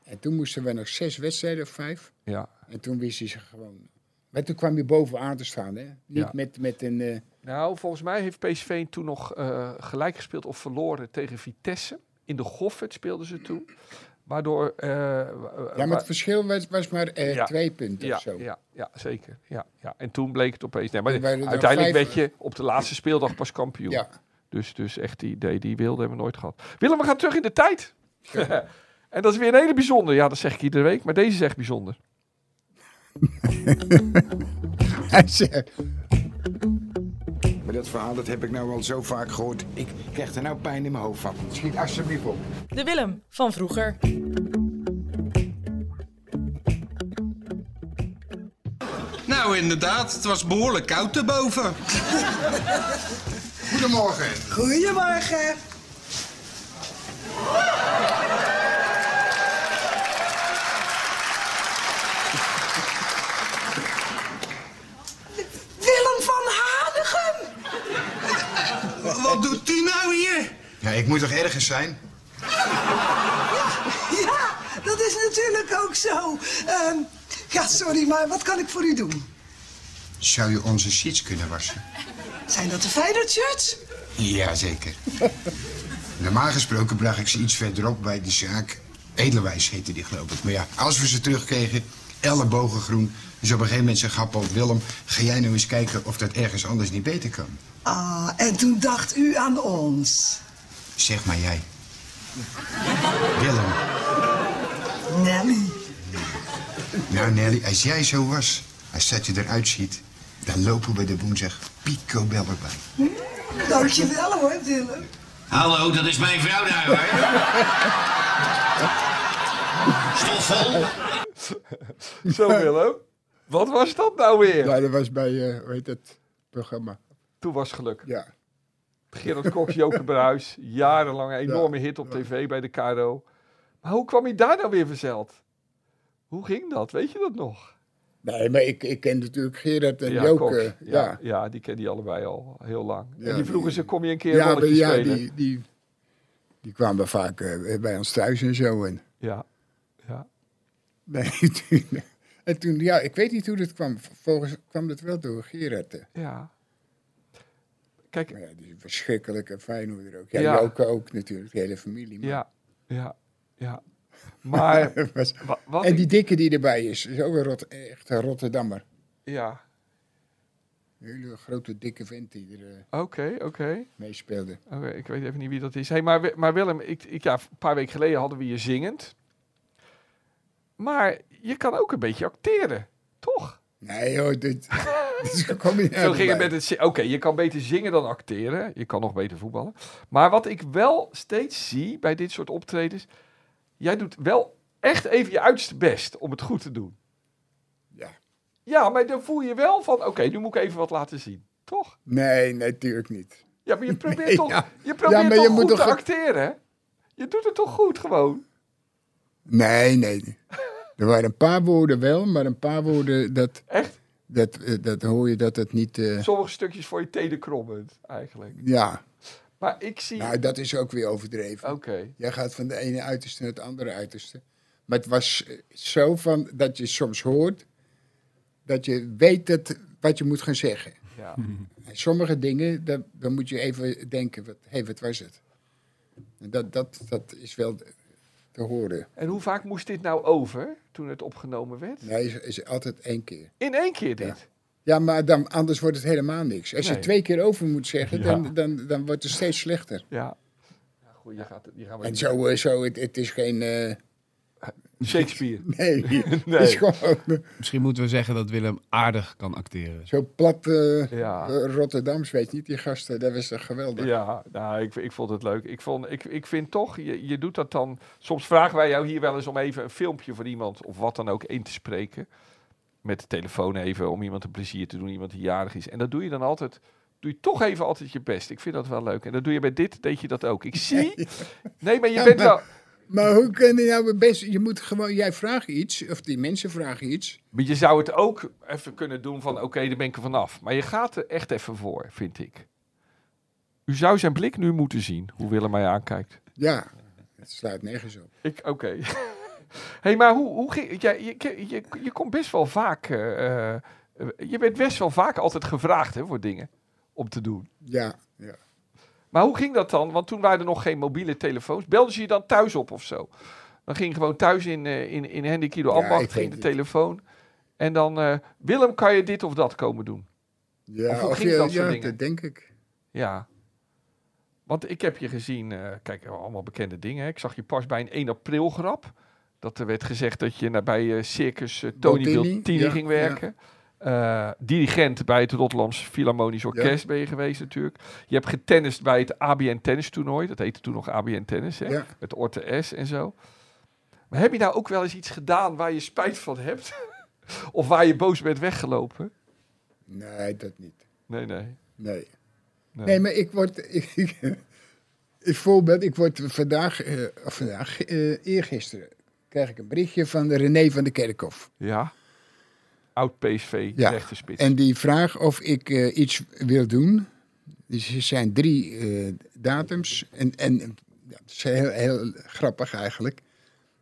S2: En toen moesten we nog zes wedstrijden of vijf.
S3: Ja.
S2: En toen wist hij ze gewoon. Maar toen kwam je bovenaan te staan, hè? Niet
S3: Ja.
S2: met, met een. eh,
S3: Nou, volgens mij heeft PSV toen nog eh, gelijk gespeeld of verloren tegen Vitesse. In de Goffert speelden ze toen. Waardoor... eh, wa-
S2: ja, maar
S3: wa-
S2: het verschil was, was maar eh,
S3: Ja.
S2: twee punten
S3: ja,
S2: of zo.
S3: ja, ja, zeker. Ja, ja. En toen bleek het opeens... Nee, maar
S2: Toen waren er
S3: uiteindelijk
S2: vijf-
S3: werd je op de laatste speeldag pas kampioen.
S2: Ja.
S3: Dus, dus echt die idee, die wilde hebben we nooit gehad. Willem, we gaan terug in de tijd. en dat is weer een hele bijzonder. Ja, dat zeg ik iedere week, maar deze is echt bijzonder.
S2: Hij zei,
S6: Maar dat verhaal dat heb ik nou al zo vaak gehoord. Ik krijg er nou pijn in mijn hoofd van.
S2: Schiet alsjeblieft op.
S4: De Willem van vroeger.
S7: Nou, inderdaad. Het was behoorlijk koud erboven.
S2: Goedemorgen.
S8: Goedemorgen. Willem van Hanegem.
S7: Wat doet u nou hier?
S6: Ja, ik moet toch ergens zijn?
S8: Ja, dat is natuurlijk ook zo. Ehm, ja, sorry, maar wat kan ik voor u doen?
S6: Zou je onze sheets kunnen wassen?
S8: Zijn dat de Feyenoord shirts?
S6: Jazeker. Normaal gesproken bracht ik ze iets verderop bij de zaak. Edelwijs heette die, geloof ik. Maar ja, als we ze terugkregen, ellebogengroen. Dus op een gegeven moment zei Gappo, Willem, ga jij nou eens kijken of dat ergens anders niet beter kan.
S8: Ah, en toen dacht u aan ons.
S6: Zeg maar jij. Willem,
S8: Nelly.
S6: nou Nelly, als jij zo was, als dat je eruit ziet... dan lopen we de woensdag picobello bij.
S8: Dankjewel hoor, Willem.
S9: Hallo, dat is mijn vrouw daar, hoor. Stofvol.
S3: Zo, Willem. Wat was dat nou weer?
S2: Ja, dat was bij, eh, hoe heet het, programma.
S3: Toen was geluk.
S2: Ja.
S3: Gerard Koks, Joke Bruis. Jarenlang een enorme hit op tv bij de KRO. Maar hoe kwam hij daar nou weer verzeld? Hoe ging dat? Weet je dat nog?
S2: Nee, maar ik, ik ken natuurlijk Gerard en
S3: Koks.
S2: Joke. eh,
S3: Ja,
S2: Ja,
S3: ja, die kennen die allebei al heel lang.
S2: Ja,
S3: en die vroegen
S2: die-
S3: ze, kom je een keer
S2: ja, maar
S3: rolletjes
S2: ja
S3: spelen?
S2: die, die, die kwamen vaak eh, bij ons thuis en zo. En,
S3: Ja, ja.
S2: nee, toen, eh, en toen, ja, ik weet niet hoe dat kwam. Volgens kwam dat wel door Gerard. eh.
S3: Ja. Kijk,
S2: Maar ja, die verschrikkelijke Feyenoorder ook. Ja,
S3: Ja.
S2: Joke ook natuurlijk, de hele familie. maar-
S3: ja, ja, ja. Maar
S2: Was-
S3: wa- wat...
S2: en die dikke die erbij is, is ook een rot, echt een Rotterdammer.
S3: Ja,
S2: Een hele grote dikke vent die er eh,
S3: oké, oké.
S2: meespeelde.
S3: Oké, ik weet even niet wie dat is. Hey, maar, Wi- maar Willem, ik, ik, ja, een paar weken geleden hadden we je zingend. Maar je kan ook een beetje acteren, toch?
S2: Nee hoor, dit, dit is een combinatie.
S3: Zo ging het met het zi- Oké, je kan beter zingen dan acteren. Je kan nog beter voetballen. Maar wat ik wel steeds zie bij dit soort optredens... Jij doet wel echt even je uiterste best om het goed te doen.
S2: Ja.
S3: Ja, maar dan voel je wel van... Oké, nu moet ik even wat laten zien, toch?
S2: Nee, natuurlijk niet.
S3: Ja, maar je probeert
S2: Nee,
S3: toch,
S2: ja.
S3: je probeert
S2: Ja, maar
S3: toch
S2: je
S3: goed
S2: moet
S3: te
S2: toch ook-
S3: acteren, hè? Je doet het toch goed gewoon?
S2: Nee, nee. Er waren een paar woorden wel, maar een paar woorden, dat,
S3: Echt?
S2: dat, eh, dat hoor je dat het niet... eh,
S3: Sommige stukjes voor je tenen krommend, eigenlijk.
S2: ja,
S3: Maar ik zie...
S2: nou dat is ook weer overdreven.
S3: Oké,
S2: Jij gaat van de ene uiterste naar het andere uiterste. Maar het was eh, zo van dat je soms hoort dat je weet dat, wat je moet gaan zeggen.
S3: ja.
S2: En sommige dingen, dan, dan moet je even denken, wat, hey, wat was het? En dat, dat, dat is wel te horen.
S3: En hoe vaak moest dit nou over, toen het opgenomen werd?
S2: Nee, is, is altijd één keer.
S3: In één keer dit?
S2: Ja, maar dan, anders wordt het helemaal niks. Als je
S3: Nee.
S2: twee keer over moet zeggen,
S3: Ja.
S2: dan, dan, dan wordt het steeds slechter.
S3: Ja. ja goed, die, gaat, die gaan we
S2: En
S3: niet-
S2: zo, eh, zo het, het is geen... eh,
S3: Shakespeare.
S2: nee, het is gewoon
S5: Misschien moeten we zeggen dat Willem aardig kan acteren.
S2: zo plat eh,
S3: Ja.
S2: eh, Rotterdams, weet je niet, die gasten. Dat was toch geweldig?
S3: Ja, nou, ik, ik vond het leuk. Ik, vond, ik, ik vind toch, je, je doet dat dan... Soms vragen wij jou hier wel eens om even een filmpje van iemand... of wat dan ook in te spreken. Met de telefoon even, om iemand een plezier te doen. Iemand die jarig is. En dat doe je dan altijd... Doe je toch even altijd je best. Ik vind dat wel leuk. En dat doe je bij dit, deed je dat ook. Ik zie... Nee, maar je
S2: Ja,
S3: bent
S2: maar-
S3: wel...
S2: Maar hoe kan je nou het beste... Je moet gewoon... Jij vraagt iets, of die mensen vragen iets.
S3: Maar je zou het ook even kunnen doen van... Oké, daar ben ik er vanaf. Maar je gaat er echt even voor, vind ik. U zou zijn blik nu moeten zien, hoe Willem mij aankijkt.
S2: Ja, het slaat nergens op.
S3: Ik, oké. hey, maar hoe, hoe ging... jij- je, je, je, je komt best wel vaak... eh, eh, je bent best wel vaak altijd gevraagd hè, voor dingen om te doen.
S2: Ja, ja.
S3: Maar hoe ging dat dan? Want toen waren er nog geen mobiele telefoons. Belden ze je dan thuis op of zo? Dan ging je gewoon thuis in, eh, in, in Hendrik Ido
S2: Ja,
S3: Ambacht,
S2: ik
S3: ging de
S2: weet het.
S3: telefoon. En dan, eh, Willem, kan je dit of dat komen doen? Of
S2: ja
S3: hoe ging dat soort
S2: ja,
S3: dingen?
S2: dat denk ik.
S3: Ja. Want ik heb je gezien, eh, kijk, allemaal bekende dingen. hè. Ik zag je pas bij een 1 april grap. Dat er werd gezegd dat je naar, bij eh, Circus eh, Tony
S2: Bottini,
S3: Biltini
S2: ja,
S3: ging
S2: ja.
S3: werken. Eh, dirigent bij het Rotterdams Philharmonisch Orkest ben je geweest natuurlijk. Je hebt getennist bij het ABN Tennis Toernooi. Dat heette toen nog ABN Tennis, hè?
S2: Ja.
S3: Met Orte S en zo. Maar heb je nou ook wel eens iets gedaan waar je spijt van hebt? of waar je boos bent weggelopen?
S2: Nee, dat niet.
S3: Nee, nee.
S2: Nee.
S3: Nee.
S2: Nee, maar ik word. Ik, ik, een voorbeeld, ik word vandaag, eh, of vandaag, eh, eergisteren, krijg ik een berichtje van René van de Kerkhof.
S3: Ja. Oud PSV,
S2: Ja.
S3: rechte spits.
S2: En die vraagt of ik eh, iets wil doen. Dus er zijn drie eh, datums. En, en ja, het is heel, heel grappig eigenlijk.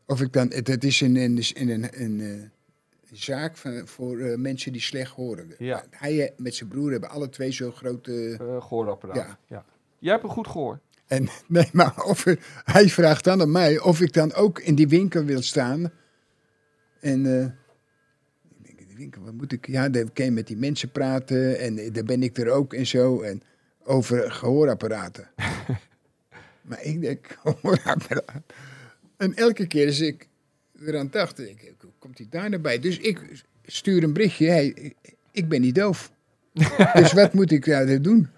S2: Of ik dan, dat is in, in, in een, een eh, zaak van, voor eh, mensen die slecht horen.
S3: Ja.
S2: Hij eh, met zijn broer hebben alle twee zo'n grote...
S3: Eh, gehoorapparaat. Ja.
S2: Ja.
S3: Jij hebt een goed gehoor.
S2: En, nee, maar of, hij vraagt dan aan mij of ik dan ook in die winkel wil staan. En eh, ik denk, in die winkel, wat moet ik? Ja, dan kan je met die mensen praten en eh, daar ben ik er ook en zo. En over gehoorapparaten. maar ik denk, gehoorapparaat. En elke keer als ik weer aan het dachten, ik, hoe komt hij daar naar bij? Dus ik stuur een berichtje, hey, eh, ik ben niet doof. dus wat moet ik daar doen?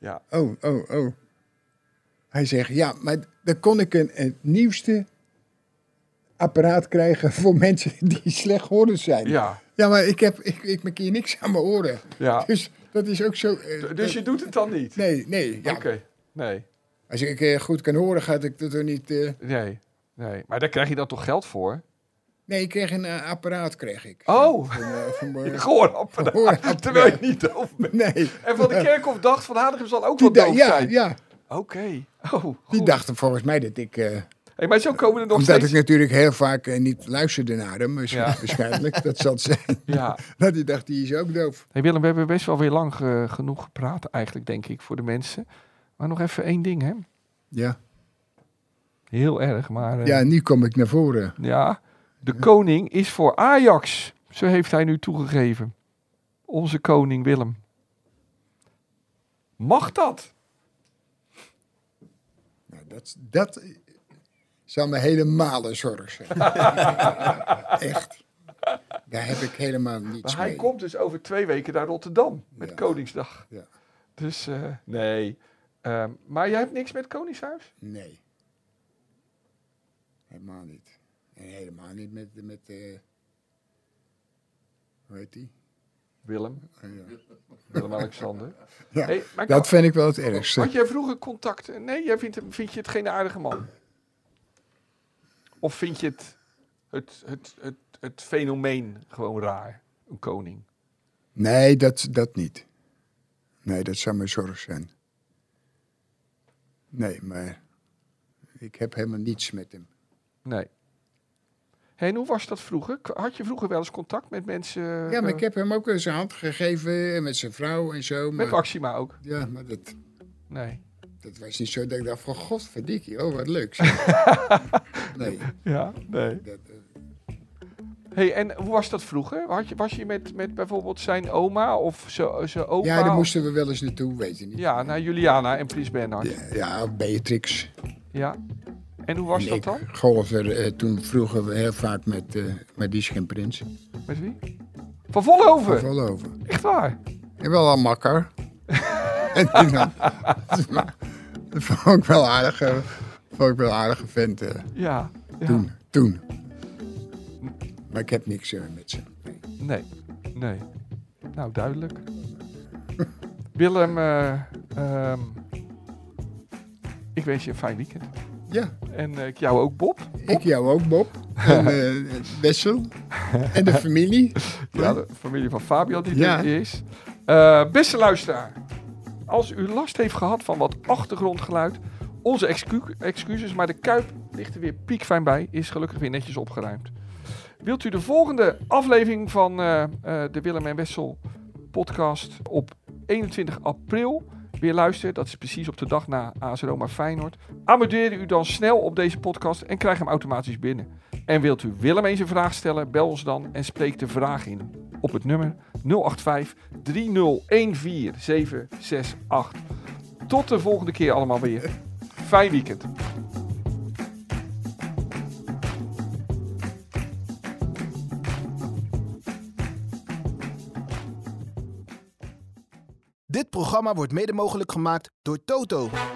S3: Ja.
S2: Oh, oh, oh. Hij zegt, ja, maar dan kon ik een, het nieuwste apparaat krijgen voor mensen die slechthorend zijn.
S3: Ja.
S2: Ja, maar ik, heb, ik, ik maak hier niks aan mijn oren.
S3: Ja.
S2: Dus dat is ook zo... eh,
S3: D-
S2: dat-
S3: Dus je doet het dan niet?
S2: Nee, nee. Ja.
S3: Oké. Nee.
S2: Als ik eh, goed kan horen, ga ik dat er niet... eh,
S3: Nee. Nee. Maar daar krijg je dan toch geld voor?
S2: Nee, ik kreeg een eh, apparaat, kreeg ik.
S3: Oh.
S2: Van, eh, van mijn-
S3: Een gehoorapparaat.
S2: Gehoorapparaat,
S3: Terwijl je
S2: ja.
S3: niet doof bent.
S2: Nee.
S3: En Van de Kerkhof dacht van Hadegem zal ook
S2: Die
S3: wel
S2: da-
S3: doof
S2: ja,
S3: zijn.
S2: ja,
S3: Oké. Oh,
S2: die
S3: goed.
S2: dachten volgens mij dat ik... eh,
S3: Hey, maar zo komen er nog
S2: omdat
S3: steeds...
S2: ik natuurlijk heel vaak eh, niet luisterde naar hem, waarsch-
S3: Ja.
S2: waarschijnlijk. Dat zal het zijn.
S3: Ja.
S2: Dat die dacht, die is ook doof.
S3: Hey Willem, we hebben best wel weer lang eh, genoeg gepraat eigenlijk, denk ik, voor de mensen. Maar nog even één ding, hè.
S2: Ja.
S3: Heel erg, maar... eh,
S2: ja, nu kom ik naar voren.
S3: Ja, de koning is voor Ajax. Zo heeft hij nu toegegeven. Onze koning Willem. Mag dat?
S2: Nou, dat, dat zou me helemaal een zorg zijn. Echt. Daar heb ik helemaal niets
S3: Maar hij
S2: mee.
S3: komt dus over twee weken naar Rotterdam met
S2: Ja.
S3: Koningsdag.
S2: Ja.
S3: Dus eh, nee. Ehm, maar jij hebt niks met Koningshuis?
S2: Nee. Helemaal niet. En helemaal niet met... met eh, hoe heet die?
S3: Willem,
S2: Oh, ja.
S3: Willem-Alexander.
S2: Ja,
S3: Hey, maar
S2: Dat
S3: kan-
S2: vind ik wel het ergste.
S3: had jij vroeger contact? Nee, jij vindt, hem- vind je het geen aardige man? Of vind je het, het, het, het, het fenomeen gewoon raar? Een koning.
S2: Nee, dat, dat niet. Nee, dat zou mijn zorg zijn. Nee, maar ik heb helemaal niets met hem.
S3: Nee. Hey, en hoe was dat vroeger? K- Had je vroeger wel eens contact met mensen?
S2: Ja, maar
S3: eh,
S2: ik heb hem ook eens een hand gegeven en met zijn vrouw en zo.
S3: Met
S2: Maar,
S3: Maxima ook?
S2: ja, maar dat,
S3: Nee.
S2: dat was niet zo dat ik dacht van, godverdikkie, oh wat leuk. nee,
S3: Ja, nee.
S2: dat, eh,
S3: Hey, en hoe was dat vroeger? Had je, was je met, met bijvoorbeeld zijn oma of zijn zijn opa?
S2: ja, daar moesten we wel eens naartoe, weet je niet.
S3: Ja, naar Juliana en Prins Bernhard. Ja.
S2: Ja, ja, Beatrix.
S3: En hoe was
S2: En
S3: dat
S2: ik
S3: dan?
S2: golfde, eh, toen vroegen we heel vaak met, eh met die schimprins.
S3: Met wie? Van Vollenhoven?
S2: Vol over.
S3: Echt waar?
S2: En wel al makker. en die dan, dat vond ik wel aardig. eh, Vond ik wel aardige vent eh,
S3: Ja. ja.
S2: toen, toen. Maar ik heb niks eh, met ze.
S3: Nee. Nee. Nou, duidelijk. Willem, eh, ehm, ik wens je een fijn weekend.
S2: Ja,
S3: En eh, ik jou ook, Bob.
S2: ik jou ook, Bob. En eh, Wessel. En de familie.
S3: Ja, de familie van Fabio die
S2: Ja.
S3: er is. Eh, beste luisteraar, als u last heeft gehad van wat achtergrondgeluid, onze excu- excuses, maar de kuip ligt er weer piekfijn bij, is gelukkig weer netjes opgeruimd. Wilt u de volgende aflevering van eh, eh, de Willem en Wessel podcast op 21 april weer luisteren? Dat is precies op de dag na AS Roma Feyenoord. Amudeer u dan snel op deze podcast en krijg hem automatisch binnen. En wilt u Willem eens een vraag stellen, bel ons dan en spreek de vraag in op het nummer 085 3014 768. Tot de volgende keer allemaal weer. Fijn weekend.
S1: Dit programma wordt mede mogelijk gemaakt door Toto.